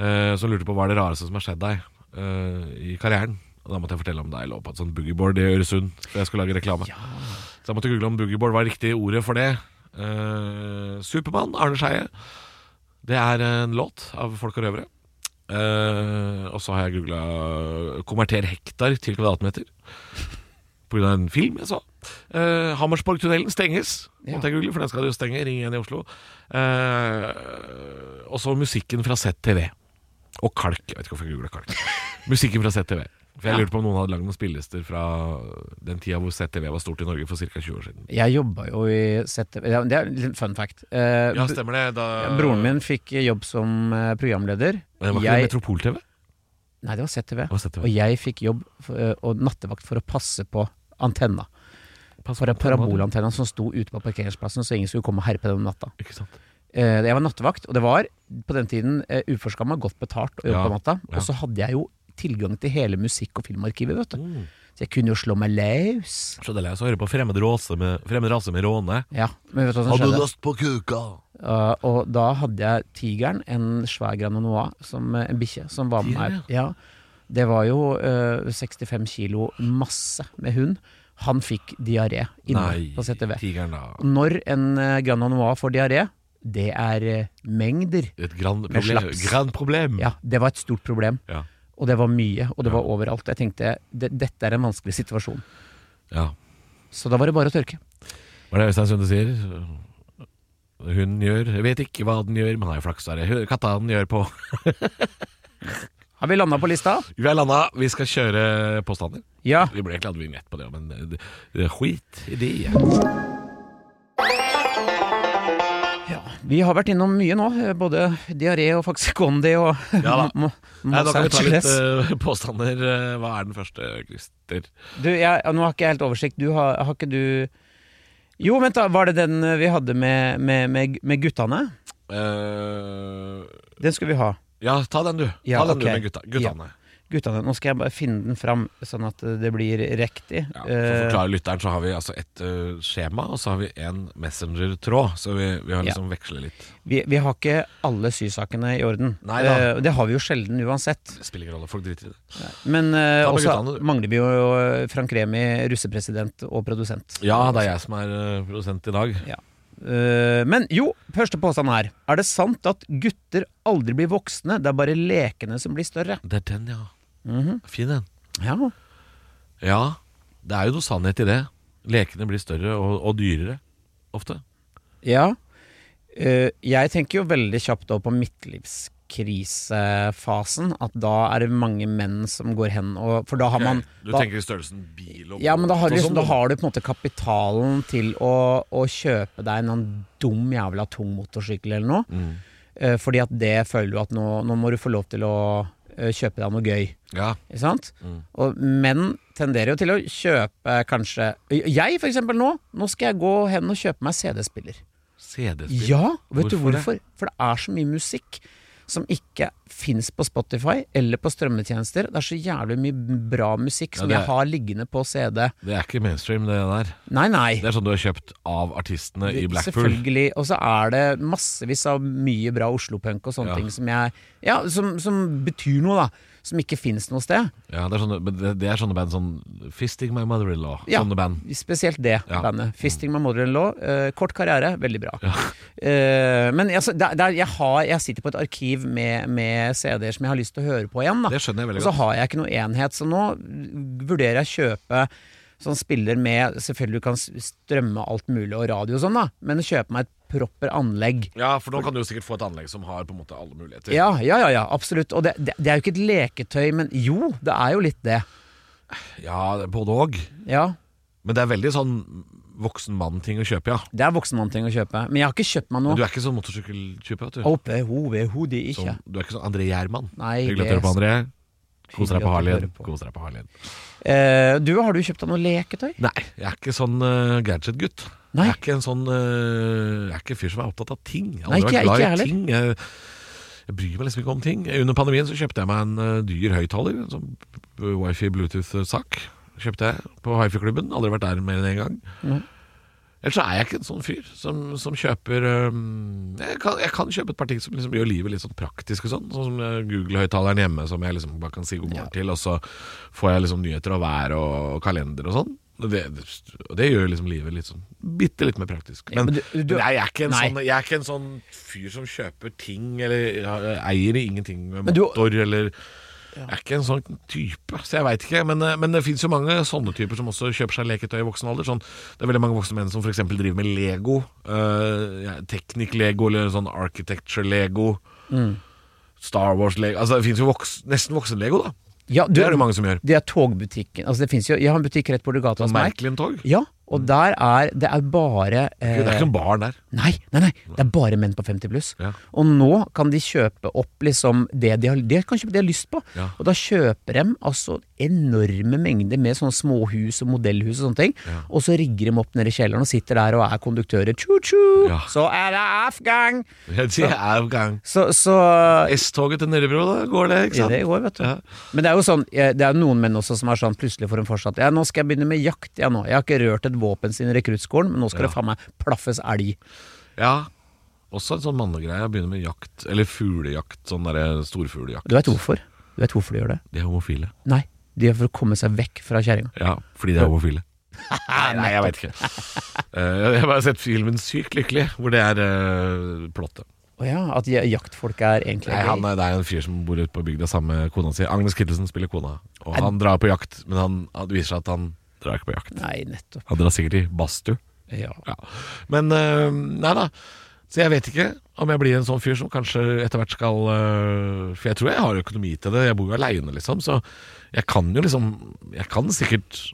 Speaker 3: eh, som lurte på hva er det rareste som har skjedd deg eh, i karrieren. Og da måtte jeg fortelle om da jeg lå på et sånt boogieboard i Øresund. For jeg skulle lage reklame. Så jeg måtte google om boogieboard var riktig ordet for det. Eh, Supermann Arne Skeie. Det er en låt av Folk og røvere. Eh, og så har jeg googla 'konverter hektar til kvadratmeter'. På grunn av en film jeg så. Eh, Hammersborgtunnelen stenges, måtte jeg google, for den skal de jo stenge. Ring igjen i Oslo. Eh, og så musikken fra ZTV. Og Kalk. Jeg vet ikke hvorfor jeg googla
Speaker 4: <laughs>
Speaker 3: Kalk. Musikken fra ZTV. For jeg lurte på om noen hadde lagd noen spillelister fra den tida hvor ZTV var stort i Norge for ca. 20 år siden.
Speaker 4: Jeg jobba jo i ZTV ja, Det er en liten fun fact. Eh,
Speaker 3: Ja, stemmer det. Da...
Speaker 4: broren min fikk jobb som eh, programleder.
Speaker 3: Men Var ikke det
Speaker 4: Jeg-
Speaker 3: Metropol-TV?
Speaker 4: Nei, det var ZTV.
Speaker 3: var ZTV.
Speaker 4: Og jeg fikk jobb for, eh, og nattevakt for å passe på antenna.
Speaker 3: Pass
Speaker 4: For det
Speaker 3: på den måten.
Speaker 4: parabolantenna som sto ute på parkeringsplassen, så ingen skulle komme og herpe den om natta.
Speaker 3: Ikke sant?
Speaker 4: Eh, Jeg var nattevakt, og det var på den tiden uh, uforskamma godt betalt å jobbe
Speaker 3: Ja,
Speaker 4: på natta.
Speaker 3: ja.
Speaker 4: Og så hadde jeg jo tilgang til hele musikk- og filmarkivet, vet du.
Speaker 3: Mm.
Speaker 4: Så jeg kunne jo slå meg løs.
Speaker 3: Så det er leit å høre på fremmed rase med, fremmed rase med råne.
Speaker 4: Ja, men vet du hva som skjedde?
Speaker 3: lyst på kuka?
Speaker 4: Uh, og da hadde jeg tigeren, en svær grananoa, som, eh, en bikkje, som var med
Speaker 3: Tigeren,
Speaker 4: meg. Ja. Det var jo eh, 65 kilo masse med hund. Han fikk diaré
Speaker 3: Nei,
Speaker 4: inne på ZTV.
Speaker 3: tigeren da.
Speaker 4: Når en eh, grananoa får diaré, det er eh, mengder.
Speaker 3: Et grand
Speaker 4: Med
Speaker 3: problem.
Speaker 4: slaps.
Speaker 3: Grand problem.
Speaker 4: Ja, det var et stort problem.
Speaker 3: Ja.
Speaker 4: Og det var mye, og det
Speaker 3: Ja.
Speaker 4: var overalt. Jeg tenkte "Det- dette er en vanskelig situasjon.
Speaker 3: Ja.
Speaker 4: Så da var det bare å tørke.
Speaker 3: Hva er det Øystein Sunde sier? Hun gjør Jeg vet ikke hva den gjør, men har jo flaks. der. Hun- Katta den gjør på <laughs>
Speaker 4: Har vi landa på lista?
Speaker 3: Vi er landa, vi skal kjøre påstander.
Speaker 4: Ja.
Speaker 3: Vi burde egentlig hatt vignett på det, men det, det, skit i det.
Speaker 4: Mm, Vi har vært innom mye nå. eh, Både diaré og faxikondi og
Speaker 3: Ja da.
Speaker 4: <laughs> mo- mo-
Speaker 3: Nei, da kan vi ta litt
Speaker 4: Mozzarella-stress.
Speaker 3: eh, påstander. Eh, Hva er den første, Christer?
Speaker 4: Du, jeg, nå har ikke jeg helt oversikt. Du har, har ikke du Jo, vent, da. Var det den eh, vi hadde med, med, med, med guttene?
Speaker 3: Eh,
Speaker 4: Den skulle vi ha.
Speaker 3: ja, ta den, du.
Speaker 4: Ja,
Speaker 3: ta den du
Speaker 4: ok.
Speaker 3: med gutta, guttene.
Speaker 4: Guttene. Nå skal jeg bare finne den fram, sånn at eh, det blir riktig.
Speaker 3: Ja, for å
Speaker 4: Eh,
Speaker 3: forklare lytteren så har vi altså et eh, skjema, og så har vi en messengertråd. Så vi, vi har liksom vekslet litt.
Speaker 4: vi, vi har ikke alle sysakene i orden.
Speaker 3: Nei da.
Speaker 4: Eh, det har vi jo sjelden uansett.
Speaker 3: Det spiller ingen rolle, folk driter i det.
Speaker 4: Men eh,
Speaker 3: Ta med guttene,
Speaker 4: også
Speaker 3: du.
Speaker 4: mangler vi jo eh, Frank Remi, russepresident og produsent.
Speaker 3: Ja, det er jeg som er eh, produsent i dag.
Speaker 4: Eh, men jo, første påstand her. Er det sant at gutter aldri blir voksne, det er bare lekene som blir større?
Speaker 3: Det er den, ja.
Speaker 4: Mhm.
Speaker 3: Fin en.
Speaker 4: Ja,
Speaker 3: Ja, det er jo noe sannhet i det. Lekene blir større og, og dyrere ofte.
Speaker 4: Ja. Eh, jeg tenker jo veldig kjapt over på midtlivskrisefasen. At da er det mange menn som går hen og For da har man
Speaker 3: du
Speaker 4: da,
Speaker 3: tenker i størrelsen bil og
Speaker 4: Ja, men da har, du
Speaker 3: båt og
Speaker 4: liksom,
Speaker 3: sånn,
Speaker 4: da har du på en måte kapitalen til å, å kjøpe deg en eller annen dum jævla tung motorsykkel eller noe.
Speaker 3: Mm.
Speaker 4: Eh, fordi at det føler du at nå, nå må du få lov til å eh, kjøpe deg noe gøy.
Speaker 3: sånn. Ja,
Speaker 4: Ikke sant?
Speaker 3: Mm.
Speaker 4: Og menn tenderer jo til å kjøpe kanskje Jeg for eksempel nå, nå skal jeg gå hen og kjøpe meg CD-spiller.
Speaker 3: CD-spill.
Speaker 4: Ja, vet du
Speaker 3: Hvorfor det?
Speaker 4: hvorfor? For det er så mye musikk som ikke fins på Spotify eller på strømmetjenester. Det er så jævlig mye bra musikk som
Speaker 3: det er-
Speaker 4: jeg har liggende på CD.
Speaker 3: Det er ikke mainstream, det der.
Speaker 4: Nei, nei.
Speaker 3: Det er sånn du har kjøpt av artistene i Blackpool.
Speaker 4: Selvfølgelig. Og så er det massevis av mye bra Oslo-punk og sånne
Speaker 3: Ja.
Speaker 4: ting som jeg Ja, som, som betyr noe, da. Som ikke fins noe sted.
Speaker 3: Ja, det er sånne, men det- det er sånne band som Fisting My Mother-in-Law.
Speaker 4: Ja.
Speaker 3: Sånne band.
Speaker 4: Spesielt det
Speaker 3: Ja.
Speaker 4: bandet. 'Fisting My Mother-in-Law'. eh, kort karriere, veldig bra. Eh, men altså, det er- det er- jeg, har, jeg sitter på et arkiv med, med CD-er som jeg har lyst til å høre på igjen. Da.
Speaker 3: Det skjønner jeg veldig
Speaker 4: Og så
Speaker 3: godt.
Speaker 4: har jeg ikke noe enhet, så nå vurderer jeg å kjøpe sånn spiller med Selvfølgelig du kan s- strømme alt mulig og radio og sånn, da, men kjøpe meg et proper anlegg.
Speaker 3: Ja, for nå kan du jo sikkert få et anlegg som har på en måte alle muligheter.
Speaker 4: Ja, ja, ja, ja absolutt. Og det, det, det er jo ikke et leketøy, men jo, det er jo litt det.
Speaker 3: Ja, det er både òg.
Speaker 4: Ja.
Speaker 3: Men det er veldig sånn voksen mann-ting å kjøpe, ja.
Speaker 4: Det er voksenmann-ting å kjøpe, men jeg har ikke kjøpt meg
Speaker 3: Men du
Speaker 4: noe.
Speaker 3: er ikke sånn motorsykkeltype, vet du.
Speaker 4: Overhodet ikke.
Speaker 3: Som, du er ikke sånn André Gjerman.
Speaker 4: Nei,
Speaker 3: Hyggelig at du
Speaker 4: det
Speaker 3: hører på,
Speaker 4: er-
Speaker 3: André. Kos deg
Speaker 4: Hyggelig at
Speaker 3: på
Speaker 4: du
Speaker 3: Harlien.
Speaker 4: hører på.
Speaker 3: Kos deg på Harlien. Sånn.
Speaker 4: Eh, du, har du kjøpt deg noe leketøy?
Speaker 3: Nei, jeg er ikke sånn eh, gadget-gutt.
Speaker 4: Nei.
Speaker 3: Jeg er ikke en sånn eh, Jeg er ikke en fyr som er opptatt av ting. Jeg har
Speaker 4: Nei,
Speaker 3: aldri
Speaker 4: ikke jeg-
Speaker 3: vært glad
Speaker 4: ikke jeg
Speaker 3: i ting. Jeg, jeg bryr meg liksom ikke om ting. Under pandemien så kjøpte jeg meg en eh, dyr høyttaler. en Sånn wifi-bluetooth-sak. Kjøpte jeg på hifi-klubben. Aldri vært der mer enn én gang. Ellers så er jeg ikke en sånn fyr som, som kjøper øhm, jeg, kan, jeg kan kjøpe et par ting som liksom gjør livet litt sånn praktisk og sånn. Sånn som øh, Google-høyttaleren hjemme som jeg liksom bare kan si god morgen til, og så får jeg liksom nyheter og vær og kalender og sånn. Det, og det gjør liksom livet litt sånn bitte litt mer praktisk.
Speaker 4: Ja,
Speaker 3: Men,
Speaker 4: men du- du-
Speaker 3: men jeg, er ikke en
Speaker 4: Nei.
Speaker 3: sånn, jeg er ikke en sånn fyr som kjøper ting eller ja, eier ingenting med
Speaker 4: Men du-
Speaker 3: motor eller Jeg er ikke en sånn type, så jeg veit ikke. Men, eh, men det fins jo mange sånne typer som også kjøper seg leketøy i voksen alder. Sånn, det er veldig mange voksne menn som f.eks. driver med Lego. eh, ja, Teknikk-lego eller sånn architecture-lego.
Speaker 4: Mm.
Speaker 3: Star Wars-lego. Altså Det fins jo voks, nesten voksen-lego, da.
Speaker 4: Ja, du,
Speaker 3: Det er det mange som Sånn gjør.
Speaker 4: Det er togbutikken. Altså, det finnes jo, jeg har en butikk rett borti gata hos Sånn meg.
Speaker 3: Merkelin-tog.
Speaker 4: Ja, og der er det er bare eh,
Speaker 3: Mm. Det er ikke noen barn der.
Speaker 4: Nei, nei, nei, det er bare menn på 50 pluss.
Speaker 3: Ja.
Speaker 4: Og nå kan de kjøpe opp liksom det de har, de kan kjøpe det de har lyst på.
Speaker 3: Ja.
Speaker 4: Og da kjøper de altså enorme mengder med sånne småhus og modellhus og sånne ting. Og så rigger de opp nede i kjelleren og sitter der og er konduktører. Tju-tju!
Speaker 3: Ja.
Speaker 4: Så er det afgang!
Speaker 3: Ja, Det er jo gang.
Speaker 4: Så, så
Speaker 3: S-toget til Nørrebro, da går det, ikke
Speaker 4: Ja,
Speaker 3: sant?
Speaker 4: det går, vet du.
Speaker 3: Ja.
Speaker 4: Men det er jo sånn, eh, det er jo noen menn også som er sånn plutselig får en fortsatt Ja, nå skal jeg begynne med jakt, ja nå. Jeg har ikke rørt et våpen siden rekruttskolen, men nå skal det faen meg plaffes elg.
Speaker 3: Ja. Også en sånn mannegreie. Begynner med jakt, eller fuglejakt. Sånn derre storfuglejakt.
Speaker 4: Du veit hvorfor? Du vet hvorfor de gjør det?
Speaker 3: De er homofile.
Speaker 4: Nei, de gjør det for å komme seg vekk fra kjerringa.
Speaker 3: Ja, fordi de er homofile. Nei, jeg veit ikke. <laughs> Eh, jeg har bare sett filmen Sykt lykkelig, hvor det er uh, plottet.
Speaker 4: Å ja, at ja- jaktfolk er egentlig
Speaker 3: Nei, han
Speaker 4: gay.
Speaker 3: er, det er en fyr som bor ute på bygda sammen med kona si. Agnes Kittelsen spiller kona. Og han drar på jakt, men han, det viser seg at han drar ikke på jakt.
Speaker 4: Nei, nettopp.
Speaker 3: Han drar sikkert i badstue.
Speaker 4: Ja.
Speaker 3: Ja. Men eh, nei da. Så jeg vet ikke om jeg blir en sånn fyr som kanskje etter hvert skal eh, For jeg tror jeg har økonomi til det. Jeg bor jo aleine, liksom. Så jeg kan jo liksom Jeg kan sikkert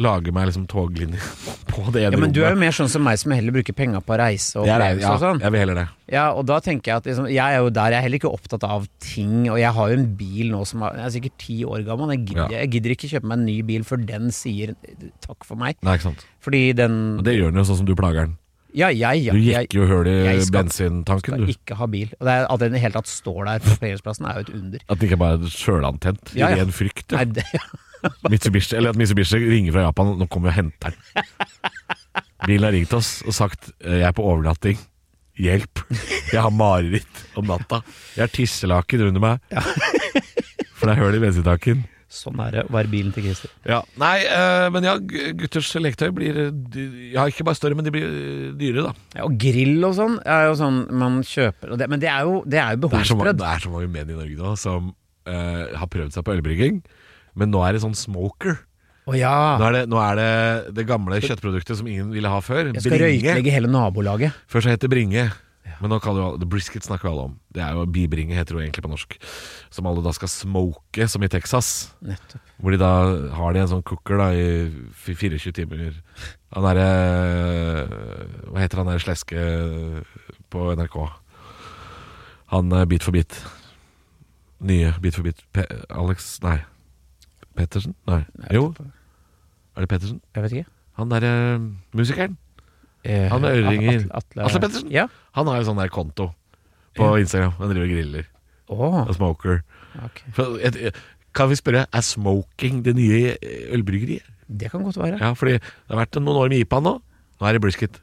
Speaker 3: lage meg liksom toglinje <laughs> på det ene
Speaker 4: Ja, men du er jo
Speaker 3: rommet.
Speaker 4: mer sånn som meg som heller bruker penga på reise og
Speaker 3: Jeg er
Speaker 4: opplevelse
Speaker 3: ja,
Speaker 4: og sånn.
Speaker 3: jeg vil heller det.
Speaker 4: Ja, og da tenker jeg at liksom, jeg er jo der, jeg er heller ikke opptatt av ting, og jeg har jo en bil nå som er, jeg er sikkert ti år gammel, jeg gidder,
Speaker 3: Ja.
Speaker 4: jeg gidder ikke kjøpe meg en ny bil før den sier takk for meg.
Speaker 3: Nei, ikke sant.
Speaker 4: Fordi den
Speaker 3: Og det gjør den jo sånn som du plager den.
Speaker 4: Ja, jeg, ja,
Speaker 3: Du
Speaker 4: jeg,
Speaker 3: jekker jo hull i
Speaker 4: jeg skal-
Speaker 3: bensintanken,
Speaker 4: skal
Speaker 3: du.
Speaker 4: ikke ha bil. Og det er, at den i det hele tatt står der på parkeringsplassen, er jo et under.
Speaker 3: At den ikke bare er sjølantent
Speaker 4: Ja, ja.
Speaker 3: i ren frykt.
Speaker 4: Nei,
Speaker 3: Ja.
Speaker 4: det, <laughs>
Speaker 3: Mitsubishi, eller at Mitsubishi ringer fra Japan Nå kommer vi og henter den Bilen har ringt oss og sagt eh, Jeg er på overnatting Hjelp Jeg har mareritt om natta Jeg har tisselaken under meg <laughs> For det er høl i bensintaken
Speaker 4: sånn er det å være bilen til Christer.
Speaker 3: ja. Nei, eh, men ja, gu- gutters leketøy blir eh, dy- Ja, ikke bare større, men de blir eh, dyre da
Speaker 4: Ja, og grill og sånn er jo sånn man kjøper og det, Men det er jo, det er jo
Speaker 3: Det er så, ma-
Speaker 4: behovsprøvd.
Speaker 3: det er så mange menn i Norge nå Som eh, har prøvd seg på ølbrygging Men nå er det sånn smoker
Speaker 4: Å ja.
Speaker 3: Nå er det nå er det, det gamle kjøttproduktet som ingen ville ha før
Speaker 4: Jeg skal
Speaker 3: Bringe.
Speaker 4: røyklegge hele nabolaget.
Speaker 3: Før så het det bringe. Men nå kaller jo alle, brisket snakker jo alle om. Det er jo Bibringe heter det jo egentlig på norsk. Som alle da skal smoke, som i Texas.
Speaker 4: Nettopp.
Speaker 3: Hvor de da har de en sånn cooker da i f- 24 timer. Han derre Hva heter han der sleske eh, på NRK? Han eh, Bit for bit. Nye Bit for bit. Pe Alex Nei. Pettersen? Nei. Jo, er det Pettersen?
Speaker 4: Jeg vet ikke.
Speaker 3: Han derre musikeren.
Speaker 4: Eh,
Speaker 3: Han med øreringer.
Speaker 4: Atle, Atle,
Speaker 3: Atle Pettersen?
Speaker 4: Ja.
Speaker 3: Han har jo sånn der konto på Instagram. Han driver og griller.
Speaker 4: Åh,
Speaker 3: Og smoker.
Speaker 4: ok.
Speaker 3: For, et, et, kan vi spørre, er smoking det nye ølbryggeriet?
Speaker 4: Det kan godt være. Ja,
Speaker 3: Ja, fordi det har vært noen år med IPA nå. Nå er det brisket.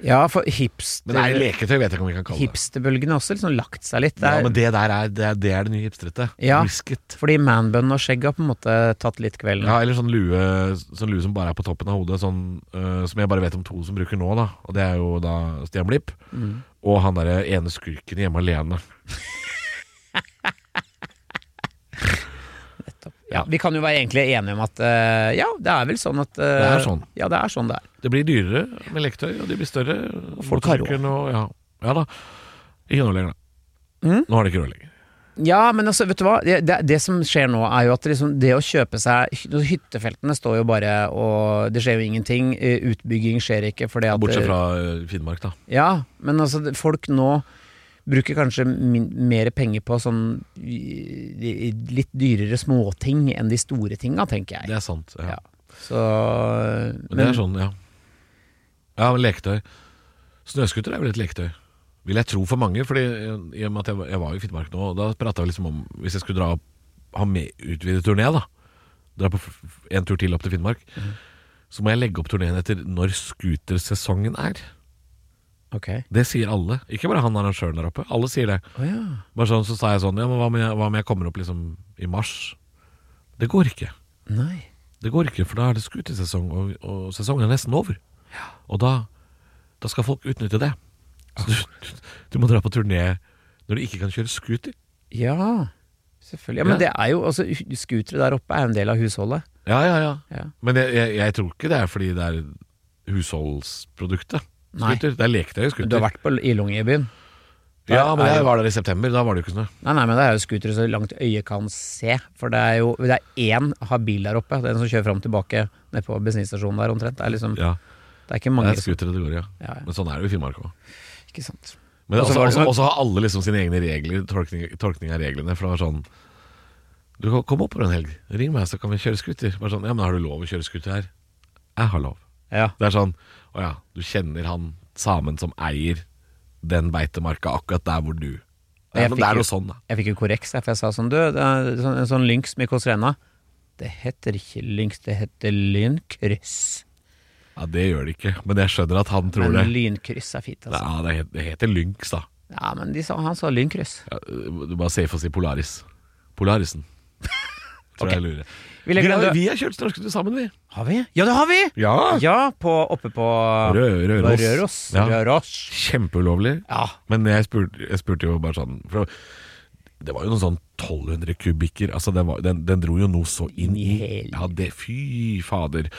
Speaker 4: for
Speaker 3: Men det er
Speaker 4: hipster,
Speaker 3: leketøy, vet jeg ikke om vi kan kalle det.
Speaker 4: hipsterbølgen har også liksom lagt seg litt.
Speaker 3: Ja,
Speaker 4: Der.
Speaker 3: men det der er det, er, det, er det nye hipstrete.
Speaker 4: Ja.
Speaker 3: Brisket.
Speaker 4: Fordi manbun og skjegg har på en måte tatt litt kvelden.
Speaker 3: Ja, eller sånn lue, sånn lue som bare er på toppen av hodet, sånn, øh, som jeg bare vet om to som bruker nå, da. Og det er jo da Stian Blipp. Og han derre ene skurken i hjemme alene.
Speaker 4: Ja, vi kan jo være egentlig enige om at eh, ja, det er vel sånn at eh,
Speaker 3: Det er sånn.
Speaker 4: Ja, det er sånn det er.
Speaker 3: Det blir dyrere med leketøy, og de blir større. Og
Speaker 4: folk har råd.
Speaker 3: Og, ja. ja da. Ikke nå lenger, da. Nå har de ikke råd lenger.
Speaker 4: Ja, men altså, vet du hva? Det, det, det som skjer nå, er jo at liksom det å kjøpe seg hy- Hyttefeltene står jo bare og Det skjer jo ingenting. eh, Utbygging skjer ikke fordi at
Speaker 3: Bortsett fra eh, Finnmark, da.
Speaker 4: Ja, men altså, det- folk nå bruker kanskje min, mer penger på sånn i- i- litt dyrere småting enn de store tinga, tenker jeg.
Speaker 3: Det er sant.
Speaker 4: Ja.
Speaker 3: Ja.
Speaker 4: Så
Speaker 3: Men, det er sånn, ja. Ja, men leketøy. Snøskuter er vel et leketøy? Vil jeg tro for mange, fordi eh, i og med at jeg, var- jeg var i Finnmark nå, og da prata vi liksom om hvis jeg skulle dra opp, ha med utvidet turné, da. Dra på f- f- en tur til opp til Finnmark.
Speaker 4: Mhm.
Speaker 3: Så må jeg legge opp turneen etter når scootersesongen er.
Speaker 4: Ok.
Speaker 3: Det sier alle. Ikke bare han arrangøren der oppe. Alle sier det.
Speaker 4: Å ja.
Speaker 3: Bare sånn, så sa jeg sånn, ja, men hva om jeg, hva om jeg kommer opp liksom i mars? Det går ikke.
Speaker 4: Nei.
Speaker 3: Det går ikke, for da er det skutesesong, og, og sesongen er nesten over. Og da, da skal folk utnytte det. Så du, du, du må dra på turné når du ikke kan kjøre scooter.
Speaker 4: Ja, selvfølgelig. Ja, men
Speaker 3: Ja.
Speaker 4: det er jo altså, hu- Skutere der oppe er en del av husholdet.
Speaker 3: Ja, ja, ja.
Speaker 4: Ja.
Speaker 3: Men jeg, jeg, jeg tror ikke det er fordi det er husholdsproduktet.
Speaker 4: Nei.
Speaker 3: Scooter. Det er leketøy i
Speaker 4: Men
Speaker 3: scooter.
Speaker 4: Du har vært på Ilungebyen?
Speaker 3: ja, men
Speaker 4: er jo-
Speaker 3: jeg var der i september. Da var det jo ikke snø.
Speaker 4: Nei, nei, men det er jo skutere så langt øyet kan se. For det er jo det er én habil der oppe. Den som kjører fram og tilbake nede på bensinstasjonen der omtrent. Det er liksom,
Speaker 3: Ja,
Speaker 4: det er ikke
Speaker 3: det
Speaker 4: mange
Speaker 3: er
Speaker 4: som
Speaker 3: scootere det går i, ja.
Speaker 4: Ja, ja.
Speaker 3: Men sånn er det jo i Finnmark òg.
Speaker 4: Ikke sant.
Speaker 3: Men
Speaker 4: Og så
Speaker 3: også,
Speaker 4: var det
Speaker 3: også,
Speaker 4: sånn-
Speaker 3: også har alle liksom sine egne regler, tolkning, tolkning av reglene. For det var sånn Du kan komme oppover en helg, ring meg, så kan vi kjøre scooter. Bare sånn, ja, men har du lov å kjøre scooter her? Jeg har lov.
Speaker 4: Ja.
Speaker 3: Det er sånn Å ja, du kjenner han samen som eier den beitemarka akkurat der hvor du ja,
Speaker 4: Jeg
Speaker 3: Men
Speaker 4: fikk
Speaker 3: det er
Speaker 4: jo-
Speaker 3: jo sånn, da.
Speaker 4: Jeg fikk jo korreks, jeg, for jeg sa sånn Du, det er sånn, en sånn lynx som i Kåsrenna. Det heter ikke lynx, det heter lynkryss.
Speaker 3: Ja, Det gjør det ikke, men jeg skjønner at han tror
Speaker 4: Men
Speaker 3: det.
Speaker 4: lynkryss er fint, altså.
Speaker 3: Ja, det het- det heter lynx, da.
Speaker 4: Ja, men de sa, han sa lynkryss.
Speaker 3: Ja, du bare safe å si Polaris.
Speaker 4: <laughs>
Speaker 3: Polarisen. Tror jeg lurer.
Speaker 4: Vi
Speaker 3: Vi,
Speaker 4: legger den
Speaker 3: har-
Speaker 4: død.
Speaker 3: vi har kjørt snøskuter sammen, vi.
Speaker 4: Har vi? Ja, det har vi!
Speaker 3: Ja.
Speaker 4: Ja, på, oppe på
Speaker 3: Rø- Røros.
Speaker 4: Røros.
Speaker 3: Ja.
Speaker 4: Røros.
Speaker 3: Kjempeulovlig.
Speaker 4: Ja.
Speaker 3: Men jeg spurte, jeg spurte jo bare sånn for Det var jo noen sånn 1200 kubikker. Altså den, var, den, den dro jo noe så inn i
Speaker 4: Hel-
Speaker 3: Ja, det, fy fader.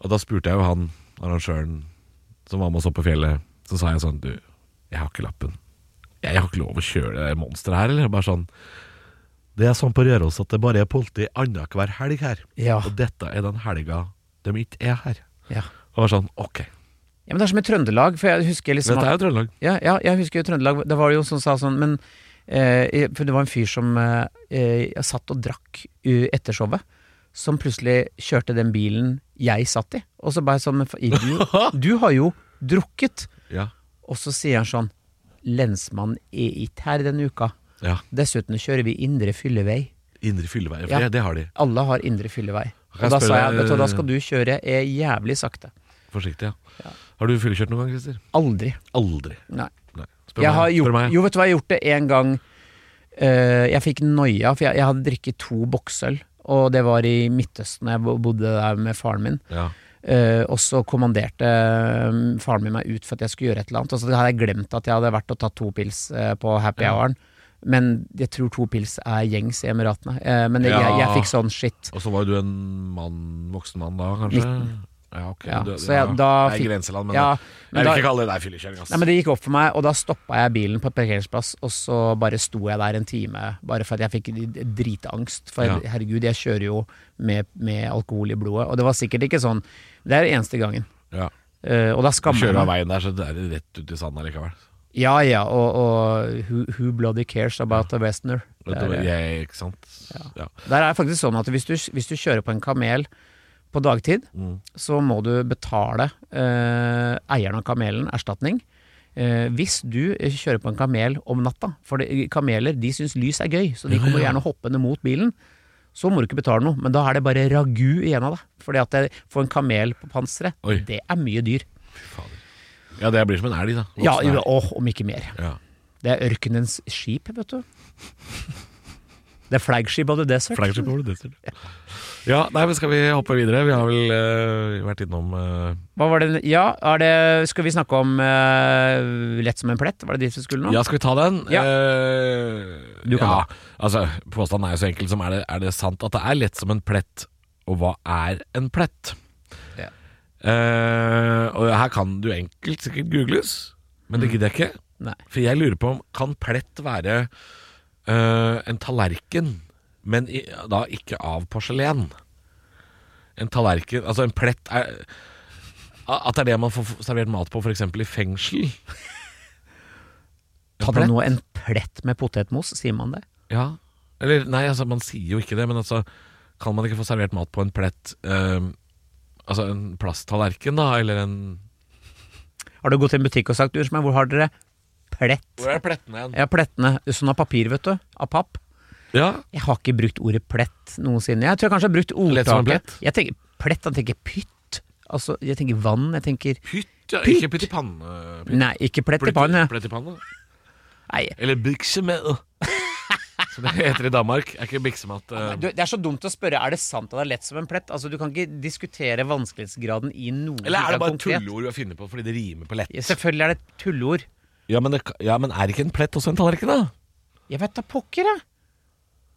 Speaker 3: Og da spurte jeg jo han arrangøren som var med oss opp på fjellet. Så sa jeg sånn Du, jeg har ikke lappen. Jeg har ikke lov å kjøre det der monsteret her, eller? Bare sånn Det er sånn på Røros at det bare er politi annenhver helg her.
Speaker 4: Ja.
Speaker 3: Og dette er den helga de ikke er her.
Speaker 4: ja.
Speaker 3: Og var sånn Ok.
Speaker 4: Ja, men det er som i Trøndelag, for jeg husker liksom
Speaker 3: Dette
Speaker 4: at,
Speaker 3: er jo Trøndelag.
Speaker 4: ja, ja, jeg husker jo Trøndelag, da var det jo som sa sånn, men eh, jeg- For det var en fyr som eh, eh, satt og drakk eh, etter showet, som plutselig kjørte den bilen jeg satt i, og så bare sånn, men fa- idiot, du har jo drukket,
Speaker 3: Ja.
Speaker 4: og så sier han sånn, lensmann er ikke her denne uka,
Speaker 3: ja.
Speaker 4: dessuten kjører vi indre fyllevei.
Speaker 3: Indre fylleveier,
Speaker 4: Ja.
Speaker 3: for det, det har de.
Speaker 4: Alle har indre fyllevei.
Speaker 3: Jeg
Speaker 4: Og da
Speaker 3: spør
Speaker 4: sa jeg,
Speaker 3: deg,
Speaker 4: vet du, hva, da
Speaker 3: eh,
Speaker 4: skal du kjøre eh, jævlig sakte.
Speaker 3: Forsiktig, ja. Har du fyllekjørt noen gang, Christer?
Speaker 4: Aldri.
Speaker 3: Aldri.
Speaker 4: Nei.
Speaker 3: Nei. Spør
Speaker 4: jeg har
Speaker 3: Spør
Speaker 4: gjort,
Speaker 3: meg.
Speaker 4: Jo, vet du hva, jeg har gjort det en gang Eh, Jeg fikk noia, for jeg, jeg hadde drikket to boksøl Og det var i Midtøsten, jeg bo- bodde der med faren min
Speaker 3: Ja.
Speaker 4: Eh, Og så kommanderte mm, faren min meg ut for at jeg skulle gjøre et eller annet Og så hadde jeg glemt at jeg hadde vært og tatt to pils eh, på happy houren Men jeg tror to pils er gjengs i Emiratene Eh, Men det, jeg,
Speaker 3: Ja.
Speaker 4: jeg fikk sånn shit
Speaker 3: Og så var jo du en mann, voksen mann da, kanskje? Ja, ok.
Speaker 4: Ja,
Speaker 3: Du,
Speaker 4: så jeg- da
Speaker 3: det er
Speaker 4: fikk-
Speaker 3: grenseland, men,
Speaker 4: ja, men
Speaker 3: jeg vil
Speaker 4: da-
Speaker 3: ikke kalle det der fyllekjøring, ass.
Speaker 4: Nei, men Det gikk opp for meg, og da stoppa jeg bilen på et parkeringsplass. Og så bare sto jeg der en time, bare for at jeg fikk dritangst. For
Speaker 3: Ja.
Speaker 4: herregud, jeg kjører jo med, med alkohol i blodet. Og det var sikkert ikke sånn. Det er den eneste gangen.
Speaker 3: ja.
Speaker 4: Eh, og da skammer jeg
Speaker 3: Kjører av
Speaker 4: meg.
Speaker 3: veien der, så det er det rett ut i sanden allikevel.
Speaker 4: Ja ja, og, og who, who bloody cares about a westerner?
Speaker 3: Vet
Speaker 4: Det
Speaker 3: du hva,
Speaker 4: er-
Speaker 3: Jeg, ikke sant? Ja.
Speaker 4: Der er det faktisk sånn at hvis du, hvis du kjører på en kamel på dagtid, så må du betale eh, eieren av kamelen erstatning. Eh, hvis du kjører på en kamel om natta, for det, kameler de syns lys er gøy, så de kommer gjerne hoppende mot bilen, så må du ikke betale noe. Men da er det bare ragu igjen av deg. Fordi at det- få en kamel på panseret,
Speaker 3: Oi.
Speaker 4: det er mye dyr.
Speaker 3: Fy fader. Ja, det blir som en elg, da. Voksen
Speaker 4: Ja,
Speaker 3: elg.
Speaker 4: åh, om ikke mer.
Speaker 3: ja.
Speaker 4: Det er ørkenens skip, vet du. Det er flagship of the desert.
Speaker 3: Flagship over the desert. Ja, nei, men skal vi hoppe videre? Vi har vel eh, vært innom eh,
Speaker 4: Hva var det Ja, er det, skal vi snakke om eh, Lett som en plett? Var det dit vi skulle nå?
Speaker 3: Ja, skal vi ta den?
Speaker 4: Ja.
Speaker 3: Eh,
Speaker 4: Du kan
Speaker 3: ja.
Speaker 4: ta
Speaker 3: Altså, påstanden er jo så enkel som er det, er det sant at det er lett som en plett, og hva er en plett?
Speaker 4: Ja.
Speaker 3: Eh, og her kan du enkelt sikkert googles, men det gidder jeg ikke.
Speaker 4: Mm. Nei.
Speaker 3: For jeg lurer på om kan plett være eh, en tallerken, men i, da ikke av porselen? En tallerken Altså, en plett er At det er det man får servert mat på, f.eks. i fengsel.
Speaker 4: Ta deg nå en plett med potetmos, sier man det?
Speaker 3: Ja, eller nei, altså man sier jo ikke det, men altså kan man ikke få servert mat på en plett eh, Altså en plasttallerken, da, eller en
Speaker 4: Har du gått i en butikk og sagt du, meg, hvor har dere plett?
Speaker 3: Hvor er plettene igjen?
Speaker 4: Ja, plettene. Sånn av papir, vet du. Av papp.
Speaker 3: Ja,
Speaker 4: Jeg har ikke brukt ordet plett noensinne. Jeg tror jeg kanskje jeg har brukt ordtaket.
Speaker 3: Lett som en plett?
Speaker 4: Jeg tenker plett, jeg tenker pytt. Altså, jeg tenker vann, jeg tenker
Speaker 3: pytt, ja.
Speaker 4: Pytt.
Speaker 3: Ikke pytt i panne. Pytt.
Speaker 4: Nei, ikke plett i panne.
Speaker 3: Plett i panne.
Speaker 4: Nei,
Speaker 3: <laughs> Eller byksemel. Så det heter i Danmark. Er ikke biksemat eh,
Speaker 4: Du, det er så dumt å spørre er det sant at det er lett som en plett. Altså, Du kan ikke diskutere vanskelighetsgraden i noe
Speaker 3: Eller
Speaker 4: som
Speaker 3: er det bare
Speaker 4: konkret.
Speaker 3: tulleord du har funnet på fordi det rimer på lett?
Speaker 4: Ja, Selvfølgelig er det et tulleord.
Speaker 3: Ja, men, det, ja, men er ikke en plett også en tallerken, da?
Speaker 4: Jeg vet da pokker, jeg.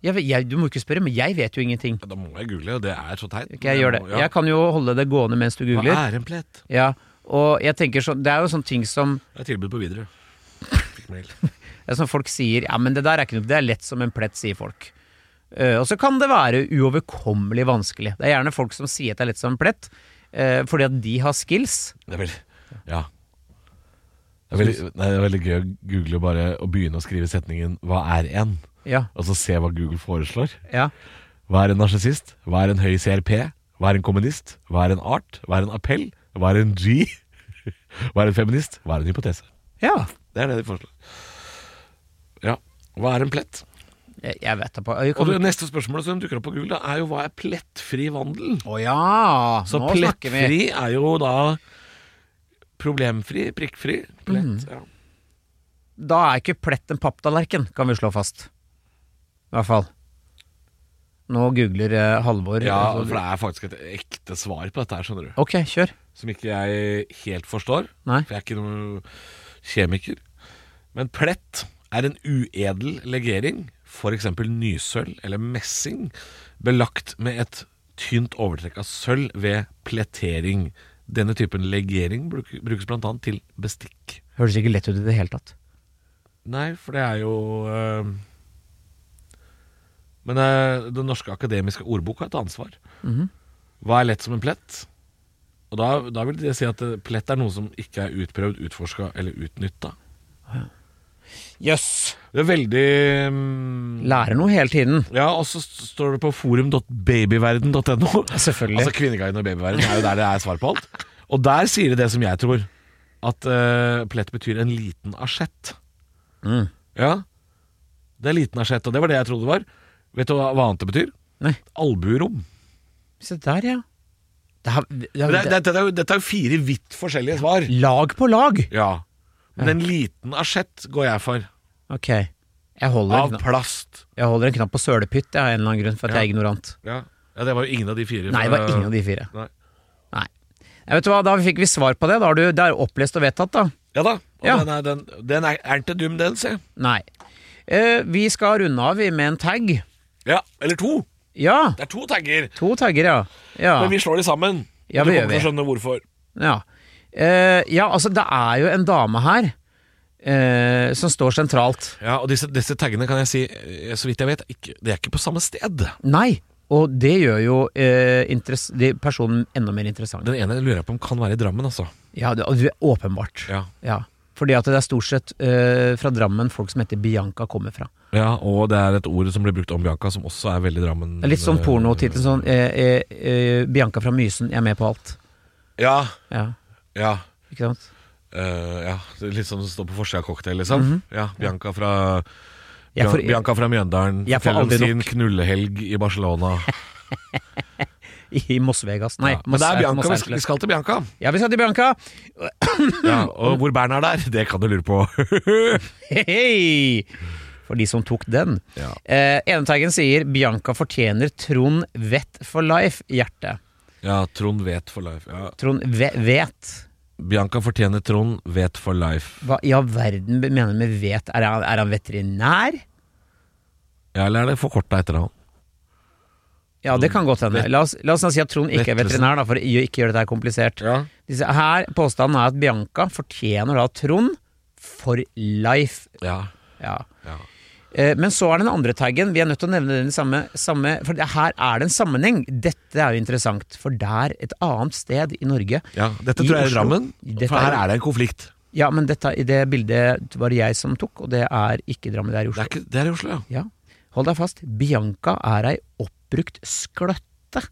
Speaker 4: jeg, vet- jeg. Du må ikke spørre, men jeg vet jo ingenting.
Speaker 3: Ja, da må jeg google, og det er så teit.
Speaker 4: Ikke jeg gjør det.
Speaker 3: må-
Speaker 4: Jeg kan jo holde det gående mens du
Speaker 3: Hva
Speaker 4: googler.
Speaker 3: er en plett?
Speaker 4: Ja, og jeg tenker sånn, Det er jo sånne ting som,
Speaker 3: Det er tilbud på videre. Fikk mail.
Speaker 4: det er som folk sier Ja, men det der er ikke noe Det er lett som en plett, sier folk. Eh, og så kan det være uoverkommelig vanskelig. Det er gjerne folk som sier at det er lett som en plett, eh, fordi at de har skills.
Speaker 3: Det er veldig Ja. Det er veldig, nei, det er veldig gøy å google og bare og begynne å skrive setningen 'Hva er en?'
Speaker 4: Ja,
Speaker 3: og så se hva Google foreslår.
Speaker 4: ja.
Speaker 3: Hva er en narsissist? Hva er en høy CRP? Hva er en kommunist? Hva er en art? Hva er en appell? Hva er en G? <laughs> Hva er en feminist? Hva er en hypotese?
Speaker 4: ja.
Speaker 3: Det er det de foreslår. Ja. Hva er en plett?
Speaker 4: Jeg, Eh, jeg vet da på jeg
Speaker 3: Og
Speaker 4: kan-
Speaker 3: det neste spørsmålet som dukker opp på Google, da, er jo hva er plettfri vandel?
Speaker 4: Å ja!
Speaker 3: Så
Speaker 4: nå snakker vi.
Speaker 3: plettfri er jo da problemfri, prikkfri. Plett,
Speaker 4: Mhm.
Speaker 3: ja.
Speaker 4: Da er ikke plett en papptallerken, kan vi slå fast. I hvert fall. Nå googler eh, Halvor.
Speaker 3: ja,
Speaker 4: altså-
Speaker 3: for det er faktisk et ekte svar på dette her, skjønner du.
Speaker 4: Ok, kjør.
Speaker 3: Som ikke jeg helt forstår,
Speaker 4: Nei.
Speaker 3: for jeg er ikke noen kjemiker. Men plett er en uedel legering, f.eks. nysølv eller messing, belagt med et tynt overtrekk av sølv ved plettering. Denne typen legering bruk- brukes bl.a. til bestikk.
Speaker 4: Høres ikke lett ut i det hele tatt.
Speaker 3: Nei, for det er jo eh, Men eh, den norske akademiske ordbok har et ansvar. Hva er lett som en plett? Og da, da vil det si at eh, plett er noe som ikke er utprøvd, utforska eller utnytta.
Speaker 4: Jøss!
Speaker 3: Det er veldig mm,
Speaker 4: Lærer noe hele tiden.
Speaker 3: Ja, og så st- står det på forum.babyverden.no.
Speaker 4: selvfølgelig.
Speaker 3: Altså Kvinneguiden og babyverden er jo der det er svar på alt. Og der sier det det som jeg tror, at eh, plett betyr en liten asjett.
Speaker 4: Mm.
Speaker 3: Ja. Det er liten asjett, og det var det jeg trodde det var. Vet du hva hva annet det betyr?
Speaker 4: Nei.
Speaker 3: Albuerom.
Speaker 4: Se der, ja. Det er, det er,
Speaker 3: Men
Speaker 4: det
Speaker 3: Det, det, dette er jo- dette er jo fire vidt forskjellige svar.
Speaker 4: lag på lag!
Speaker 3: Ja. Men en liten asjett går jeg for.
Speaker 4: Ok. Jeg holder, en
Speaker 3: Av
Speaker 4: knapp,
Speaker 3: plast.
Speaker 4: jeg holder en knapp på sølepytt jeg, av en eller annen grunn, for at
Speaker 3: Ja.
Speaker 4: jeg er ignorant.
Speaker 3: Ja. ja, det var jo ingen av de fire.
Speaker 4: Nei, det var ingen av de fire.
Speaker 3: Nei.
Speaker 4: Nei. Nei, vet du hva, Da fikk vi svar på det. Da har du, det er opplest og vedtatt, da.
Speaker 3: Ja da. Og
Speaker 4: Ja.
Speaker 3: Den, er, den, den er, er ikke dum, den, se.
Speaker 4: Nei. Eh, vi skal runde av vi, med en tag.
Speaker 3: Ja, eller to.
Speaker 4: Ja!
Speaker 3: Det er to tagger,
Speaker 4: To tagger, ja. Ja.
Speaker 3: men vi slår de sammen.
Speaker 4: Ja,
Speaker 3: du
Speaker 4: det gjør
Speaker 3: kommer til å
Speaker 4: vi.
Speaker 3: skjønne hvorfor.
Speaker 4: ja. Eh, ja, altså, det er jo en dame her eh, som står sentralt.
Speaker 3: Ja, og disse, disse taggene kan jeg si, eh, så vidt jeg vet, ikke, det er ikke på samme sted.
Speaker 4: Nei! Og det gjør jo eh, interess- de personen enda mer interessant.
Speaker 3: Den ene lurer jeg på om kan være i Drammen, altså.
Speaker 4: Ja, det, og det er åpenbart.
Speaker 3: Ja,
Speaker 4: Ja. Fordi at det er stort sett eh, fra Drammen folk som heter Bianca kommer fra.
Speaker 3: ja og det er et ord som blir brukt om Bianca, som også er veldig Drammen.
Speaker 4: Det er litt sånn pornotittel sånn eh, eh, eh, Bianca fra Mysen, jeg er med på alt.
Speaker 3: Ja,
Speaker 4: Ja,
Speaker 3: ja.
Speaker 4: ikke sant?
Speaker 3: eh, ja. Det er Litt sånn som står på forsida av cocktail, liksom. Ja, Bianca fra
Speaker 4: Jeg
Speaker 3: Bian-
Speaker 4: får-
Speaker 3: Bianca fra Mjøndalen
Speaker 4: Jeg får
Speaker 3: forteller om
Speaker 4: aldri
Speaker 3: sin
Speaker 4: nok.
Speaker 3: knullehelg i <laughs> Barcelona.
Speaker 4: I Moss-Vegas. Nei,
Speaker 3: ja. Men det
Speaker 4: Moss-
Speaker 3: er Bianca,
Speaker 4: Moss
Speaker 3: vi skal, vi skal til <laughs> Bianca.
Speaker 4: Ja, vi skal til Bianca!
Speaker 3: Ja, og hvor Bern er der, <laughs> det kan du lure på.
Speaker 4: Hei! For de som tok den.
Speaker 3: Ja.
Speaker 4: Eh, Eneteigen sier 'Bianca fortjener Trond Vett for life'. Hjerte.
Speaker 3: <laughs> Ja, Trond vet for life. Ja.
Speaker 4: Trond Ve Vet.
Speaker 3: Bianca fortjener Trond vet for life.
Speaker 4: Hva i all verden mener han med vet? Er han, er han veterinær?
Speaker 3: Ja, eller er det forkorta etter han?
Speaker 4: Ja, det kan godt hende.
Speaker 3: Vet-
Speaker 4: La oss, la oss nå si at Trond ikke er
Speaker 3: Vettelsen.
Speaker 4: veterinær, da, for å gjø- ikke gjøre dette her komplisert.
Speaker 3: Ja.
Speaker 4: Disse, her, Påstanden er at Bianca fortjener da Trond for life.
Speaker 3: ja.
Speaker 4: Ja.
Speaker 3: Ja.
Speaker 4: Eh, Men så er den andre taggen. Vi er nødt til å nevne den samme, samme For det- her er det en sammenheng. Dette er jo interessant. For der, et annet sted i Norge
Speaker 3: Dette
Speaker 4: I
Speaker 3: tror jeg er
Speaker 4: Oslo.
Speaker 3: Drammen,
Speaker 4: Dette
Speaker 3: for her
Speaker 4: er-
Speaker 3: er det en konflikt.
Speaker 4: Ja, men dette, i det bildet var det jeg som tok, og det er ikke Drammen, det er i
Speaker 3: Det
Speaker 4: Oslo.
Speaker 3: er, ikke, det er i Oslo, ja.
Speaker 4: Ja. Hold deg fast. Bianca er ei oppbrukt skløtte.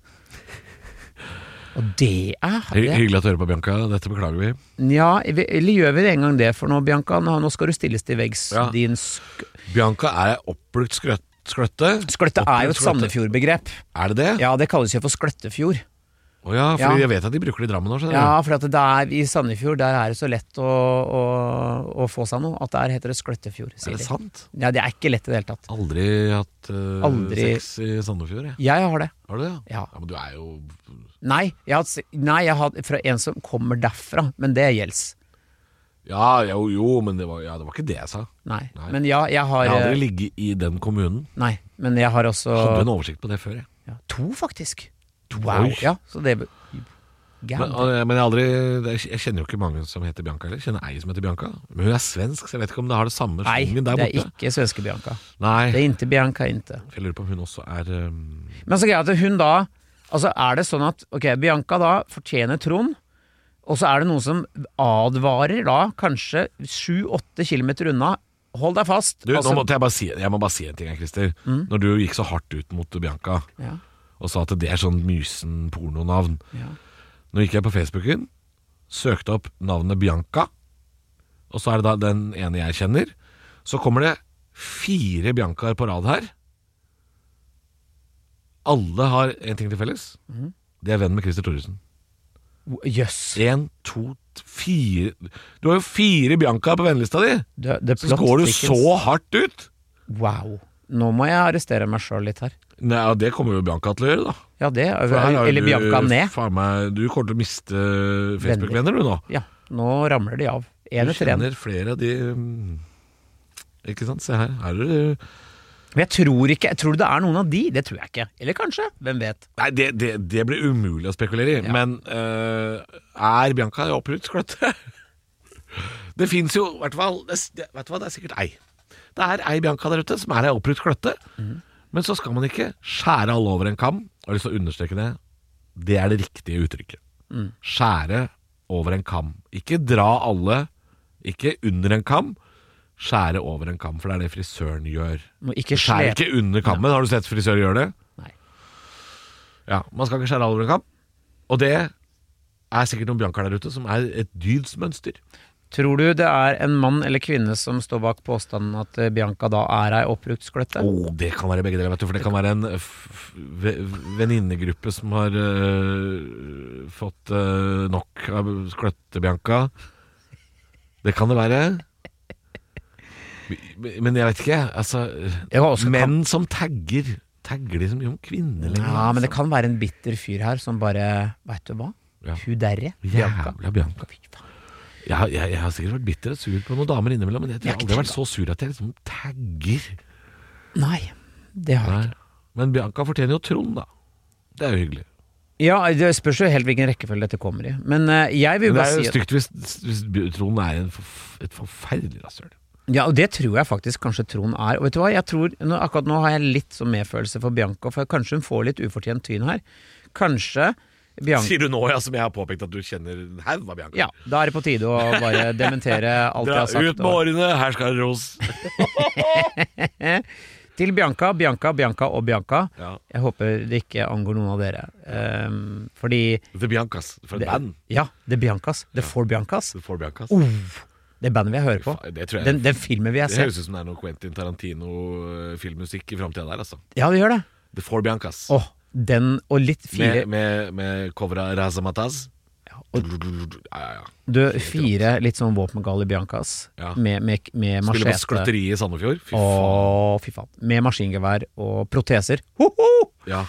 Speaker 4: Og det er
Speaker 3: Hy
Speaker 4: det.
Speaker 3: hyggelig at du hører på, Bianca. Dette beklager vi.
Speaker 4: Ja, vi- eller gjør vi det en gang det for nå, Bianca? Nå nå skal du stilles til veggs.
Speaker 3: Ja.
Speaker 4: Din sk
Speaker 3: Bianca er ei oppbrukt skrøt skløtte.
Speaker 4: skløtte er jo et
Speaker 3: Oppbrukt skløtte.
Speaker 4: Sandefjord-begrep.
Speaker 3: Er det det?
Speaker 4: Ja, det kalles jo for Skløttefjord.
Speaker 3: Å ja, for
Speaker 4: Ja.
Speaker 3: jeg vet at de bruker det i Drammen nå, skjønner
Speaker 4: Ja, for at det er, i Sandefjord der er det så lett å, å, å få seg noe at der heter det Skløttefjord,
Speaker 3: du. Er
Speaker 4: sier
Speaker 3: det
Speaker 4: de.
Speaker 3: sant?
Speaker 4: Nei, det er ikke lett i det hele tatt.
Speaker 3: Aldri hatt eh,
Speaker 4: Aldri.
Speaker 3: sex i Sandefjord, jeg.
Speaker 4: Jeg har det.
Speaker 3: Har du det?
Speaker 4: Ja.
Speaker 3: ja. Men du er jo
Speaker 4: Nei, jeg har, hatt se- nei, jeg har hatt fra en som kommer derfra, men det gjelder.
Speaker 3: Ja, jo, jo men det var, ja, det var ikke det jeg sa.
Speaker 4: Nei.
Speaker 3: Nei.
Speaker 4: Men ja, jeg har eh,
Speaker 3: Jeg har aldri ligget i den kommunen.
Speaker 4: Nei, men jeg har også
Speaker 3: Hadde en oversikt på det før, jeg.
Speaker 4: ja, To, faktisk.
Speaker 3: Oi.
Speaker 4: Ja, så det
Speaker 3: Men,
Speaker 4: Gæren.
Speaker 3: eh, men jeg, har aldri, det er- jeg kjenner jo ikke mange som heter Bianca heller. Jeg Kjenner ei som heter Bianca. Men hun er svensk, så jeg vet ikke om det har det samme
Speaker 4: Nei, det
Speaker 3: svingen der
Speaker 4: er
Speaker 3: borte.
Speaker 4: ikke svenske Bianca.
Speaker 3: Nei,
Speaker 4: Det er inte Bianca, inte.
Speaker 3: Jeg lurer på om hun også er um,
Speaker 4: Men så greia at hun da Altså er det sånn at Ok, Bianca da fortjener Trond Og så er det noen som advarer da Kanskje 7-8 kilometer unna Hold deg fast
Speaker 3: du,
Speaker 4: altså, Mm.
Speaker 3: nå måtte jeg, bare si, jeg må bare si en ting her, Christer. Når du gikk så hardt ut mot Bianca
Speaker 4: ja,
Speaker 3: og sa at det er sånn mysen pornonavn
Speaker 4: ja.
Speaker 3: Nå gikk jeg på Facebooken, søkte opp navnet Bianca, og så er det da den ene jeg kjenner. Så kommer det fire Biancaer på rad her. Alle har én ting til felles.
Speaker 4: Mhm.
Speaker 3: De er venn med Christer Thoresen.
Speaker 4: Jøss
Speaker 3: Én, to, t- fire Du har jo fire Biancaer på vennelista di!
Speaker 4: det, det
Speaker 3: Så går du så hardt ut!
Speaker 4: Wow Nå må jeg arrestere meg selv litt her
Speaker 3: Nei, ja, Det kommer jo Bianca til å gjøre, da.
Speaker 4: Ja det,
Speaker 3: For her har
Speaker 4: eller
Speaker 3: du-
Speaker 4: Bianca ned
Speaker 3: Faen meg, du kommer til å miste Facebook-venner, du nå.
Speaker 4: Ja, nå ramler de av En
Speaker 3: Du
Speaker 4: etter en
Speaker 3: kjenner flere av de mm, Ikke sant, se her. Her er det
Speaker 4: Men jeg tror ikke Tror du det er noen av de? Det tror jeg ikke Eller kanskje, hvem vet
Speaker 3: Nei, det, det, det blir umulig å spekulere i. Men øh, er Bianca opprutt skløtte? <laughs> Det fins jo i hvert fall det, s- det, Vet du hva, det er sikkert ei. Det er ei Bianca der ute som er ei opprutt skløtte. Men så skal man ikke skjære alle over en kam. Jeg har lyst til å understreke det. Det er det riktige uttrykket. Skjære over en kam. Ikke dra alle, ikke under en kam. Skjære over en kam, for det er det frisøren gjør.
Speaker 4: Må ikke
Speaker 3: Skjærer
Speaker 4: slep
Speaker 3: ikke under kammen. Har du sett frisører gjøre det?
Speaker 4: Nei.
Speaker 3: Ja, Man skal ikke skjære over en kam. Og det er sikkert noen Bianca der ute som er et dydsmønster.
Speaker 4: Tror du det er en mann eller kvinne som står bak påstanden at eh, Bianca da er ei oppbrukt skløtte?
Speaker 3: Oh, det kan være begge deler, vet du. For det kan være en f- f- ve- venninnegruppe som har øh, fått øh, nok av Skløtte-Bianca. Det kan det være. Men jeg vet ikke. Altså,
Speaker 4: Jeg har også-
Speaker 3: menn som tagger Tagger de så mye om kvinner lenger?
Speaker 4: Ja, men det kan være en bitter fyr her som bare Veit du hva?
Speaker 3: Ja.
Speaker 4: Hun derre, Bianca.
Speaker 3: Jævla Bianca. Jeg, har- jeg, jeg har sikkert vært bitter og sur på noen damer innimellom, men jeg tror
Speaker 4: Jeg har ikke
Speaker 3: jeg aldri har vært så sur at jeg liksom tagger.
Speaker 4: Nei, det har jeg
Speaker 3: Nei.
Speaker 4: ikke.
Speaker 3: Men Bianca fortjener jo Trond, da. Det er jo hyggelig.
Speaker 4: Ja, Det spørs jo helt hvilken rekkefølge dette kommer i. Men eh, jeg vil jo
Speaker 3: Men det
Speaker 4: bare si
Speaker 3: er jo
Speaker 4: at,
Speaker 3: stygt hvis, hvis Trond er en forf et forferdelig rasshøl.
Speaker 4: Ja, og det tror jeg faktisk kanskje Trond er. Og vet du hva, jeg tror nå, akkurat nå har jeg litt sånn medfølelse for Bianca, for kanskje hun får litt ufortjent tyn her. Kanskje Bianca
Speaker 3: Sier du nå, ja, som jeg har påpekt at du kjenner en haug av Bianca?
Speaker 4: Ja, da er det på tide å bare dementere alt jeg
Speaker 3: Dra
Speaker 4: har sagt.
Speaker 3: ut med
Speaker 4: og-
Speaker 3: årene, her skal det ros.
Speaker 4: <laughs> Til Bianca, Bianca, Bianca og Bianca.
Speaker 3: Ja.
Speaker 4: Jeg håper det ikke angår noen av dere. Ehm, fordi
Speaker 3: The Biancas. For et
Speaker 4: det, Oh,
Speaker 3: band.
Speaker 4: Ja, The Biancas. The Four Biancas.
Speaker 3: The Four Biancas.
Speaker 4: Det bandet vi hører på.
Speaker 3: Fy faen, det tror jeg-
Speaker 4: Den, den filmen vi har
Speaker 3: Det høres
Speaker 4: sett.
Speaker 3: ut som det er noe Quentin Tarantino-filmmusikk i framtida der, altså.
Speaker 4: Ja, det gjør det.
Speaker 3: The Four Biancas.
Speaker 4: Åh, den og litt fire
Speaker 3: Med, med, med cover av Razamataz. Ja, ja, ja.
Speaker 4: Du, fire litt sånn våpengale Biancas.
Speaker 3: Ja.
Speaker 4: Med, med, med
Speaker 3: Spiller på
Speaker 4: machete.
Speaker 3: skløtteriet i Sandefjord. Fy faen.
Speaker 4: Å, fy faen. Med maskingevær og proteser. Hoho!
Speaker 3: Ja.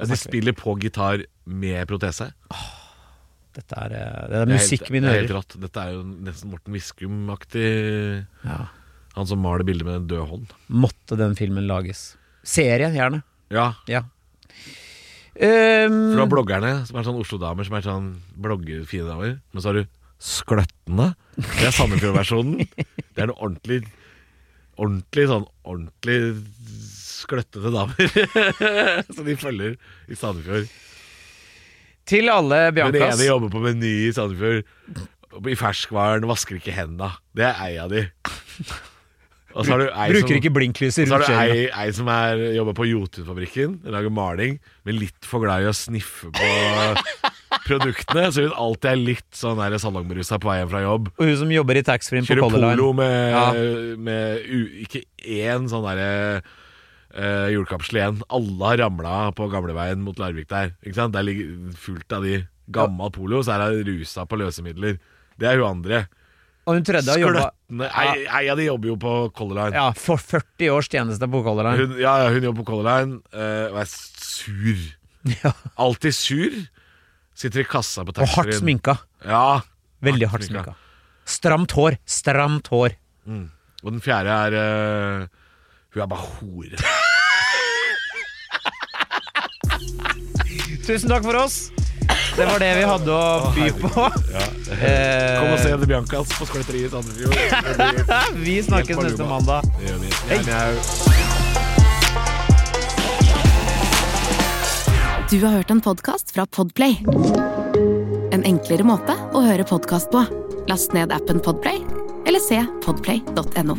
Speaker 3: Ja, de spiller på gitar med protese.
Speaker 4: Dette er, eh, det er
Speaker 3: Det er
Speaker 4: musikk
Speaker 3: helt-
Speaker 4: i mine
Speaker 3: det er helt
Speaker 4: ører.
Speaker 3: rått. Dette er jo nesten Morten Viskum-aktig.
Speaker 4: Ja.
Speaker 3: Han som maler bilder med en død hånd.
Speaker 4: Måtte den filmen lages. Serien, gjerne.
Speaker 3: Ja,
Speaker 4: Ja. Ehm,
Speaker 3: for du har
Speaker 4: Mm.
Speaker 3: bloggerne, som er sånn Oslo-damer, som er sånn bloggefine damer. Men så har du Skløttene. Det er Sandefjord-versjonen. Det er noe ordentlig Ordentlig sånn ordentlig skløttete damer <laughs> som de følger i Sandefjord.
Speaker 4: til alle
Speaker 3: Den
Speaker 4: Biancas
Speaker 3: ene jobber på Meny i Sandefjord. I ferskvaren, vasker ikke henda. Det er ei av de. Og så har du ei
Speaker 4: Bruker
Speaker 3: som,
Speaker 4: ikke blinklyset
Speaker 3: så har
Speaker 4: rundt
Speaker 3: du
Speaker 4: kjøringen.
Speaker 3: ei, ei som er, jobber på Jotunfabrikken, lager maling, men litt for glad i å sniffe på produktene. Så hun alltid er litt sånn der salongberusa på vei hjem fra jobb.
Speaker 4: Og hun som jobber i taxfree-en på
Speaker 3: Kjører
Speaker 4: Color Line.
Speaker 3: polo med,
Speaker 4: Ja.
Speaker 3: med u, ikke én sånn derre eh, julekapsel igjen. Alle har ramla på gamleveien mot Larvik der. Ikke sant? Der ligger fullt av de gammal polo, så er hun rusa på løsemidler. Det er hun andre.
Speaker 4: Og hun tredje har jobba
Speaker 3: Skløttene Ei ei av de jobber jo på Color Line.
Speaker 4: ja, for 40 års tjeneste på Color Line.
Speaker 3: Hun, ja, ja, hun jobber på Color Line eh, og er sur.
Speaker 4: Ja.
Speaker 3: Alltid sur. Sitter i kassa på
Speaker 4: Og hardt
Speaker 3: taxfree-en.
Speaker 4: sminka.
Speaker 3: Ja.
Speaker 4: Veldig hardt sminka. Stramt hår. Stramt hår.
Speaker 3: Og den fjerde er eh, Hun er bare hore.
Speaker 4: Eh. Tusen takk for oss. Det var det vi hadde å by på.
Speaker 3: Kom og se
Speaker 4: Eh,
Speaker 3: The Biancas på Skøyteriet i
Speaker 4: <laughs>
Speaker 3: Sandefjord. Det blir-
Speaker 4: vi snakkes neste mandag.
Speaker 3: det gjør vi. Gjerne au.
Speaker 2: Du har hørt en podcast fra Podplay. En enklere måte å høre podcast på. Last ned appen Podplay, eller se podplay.no.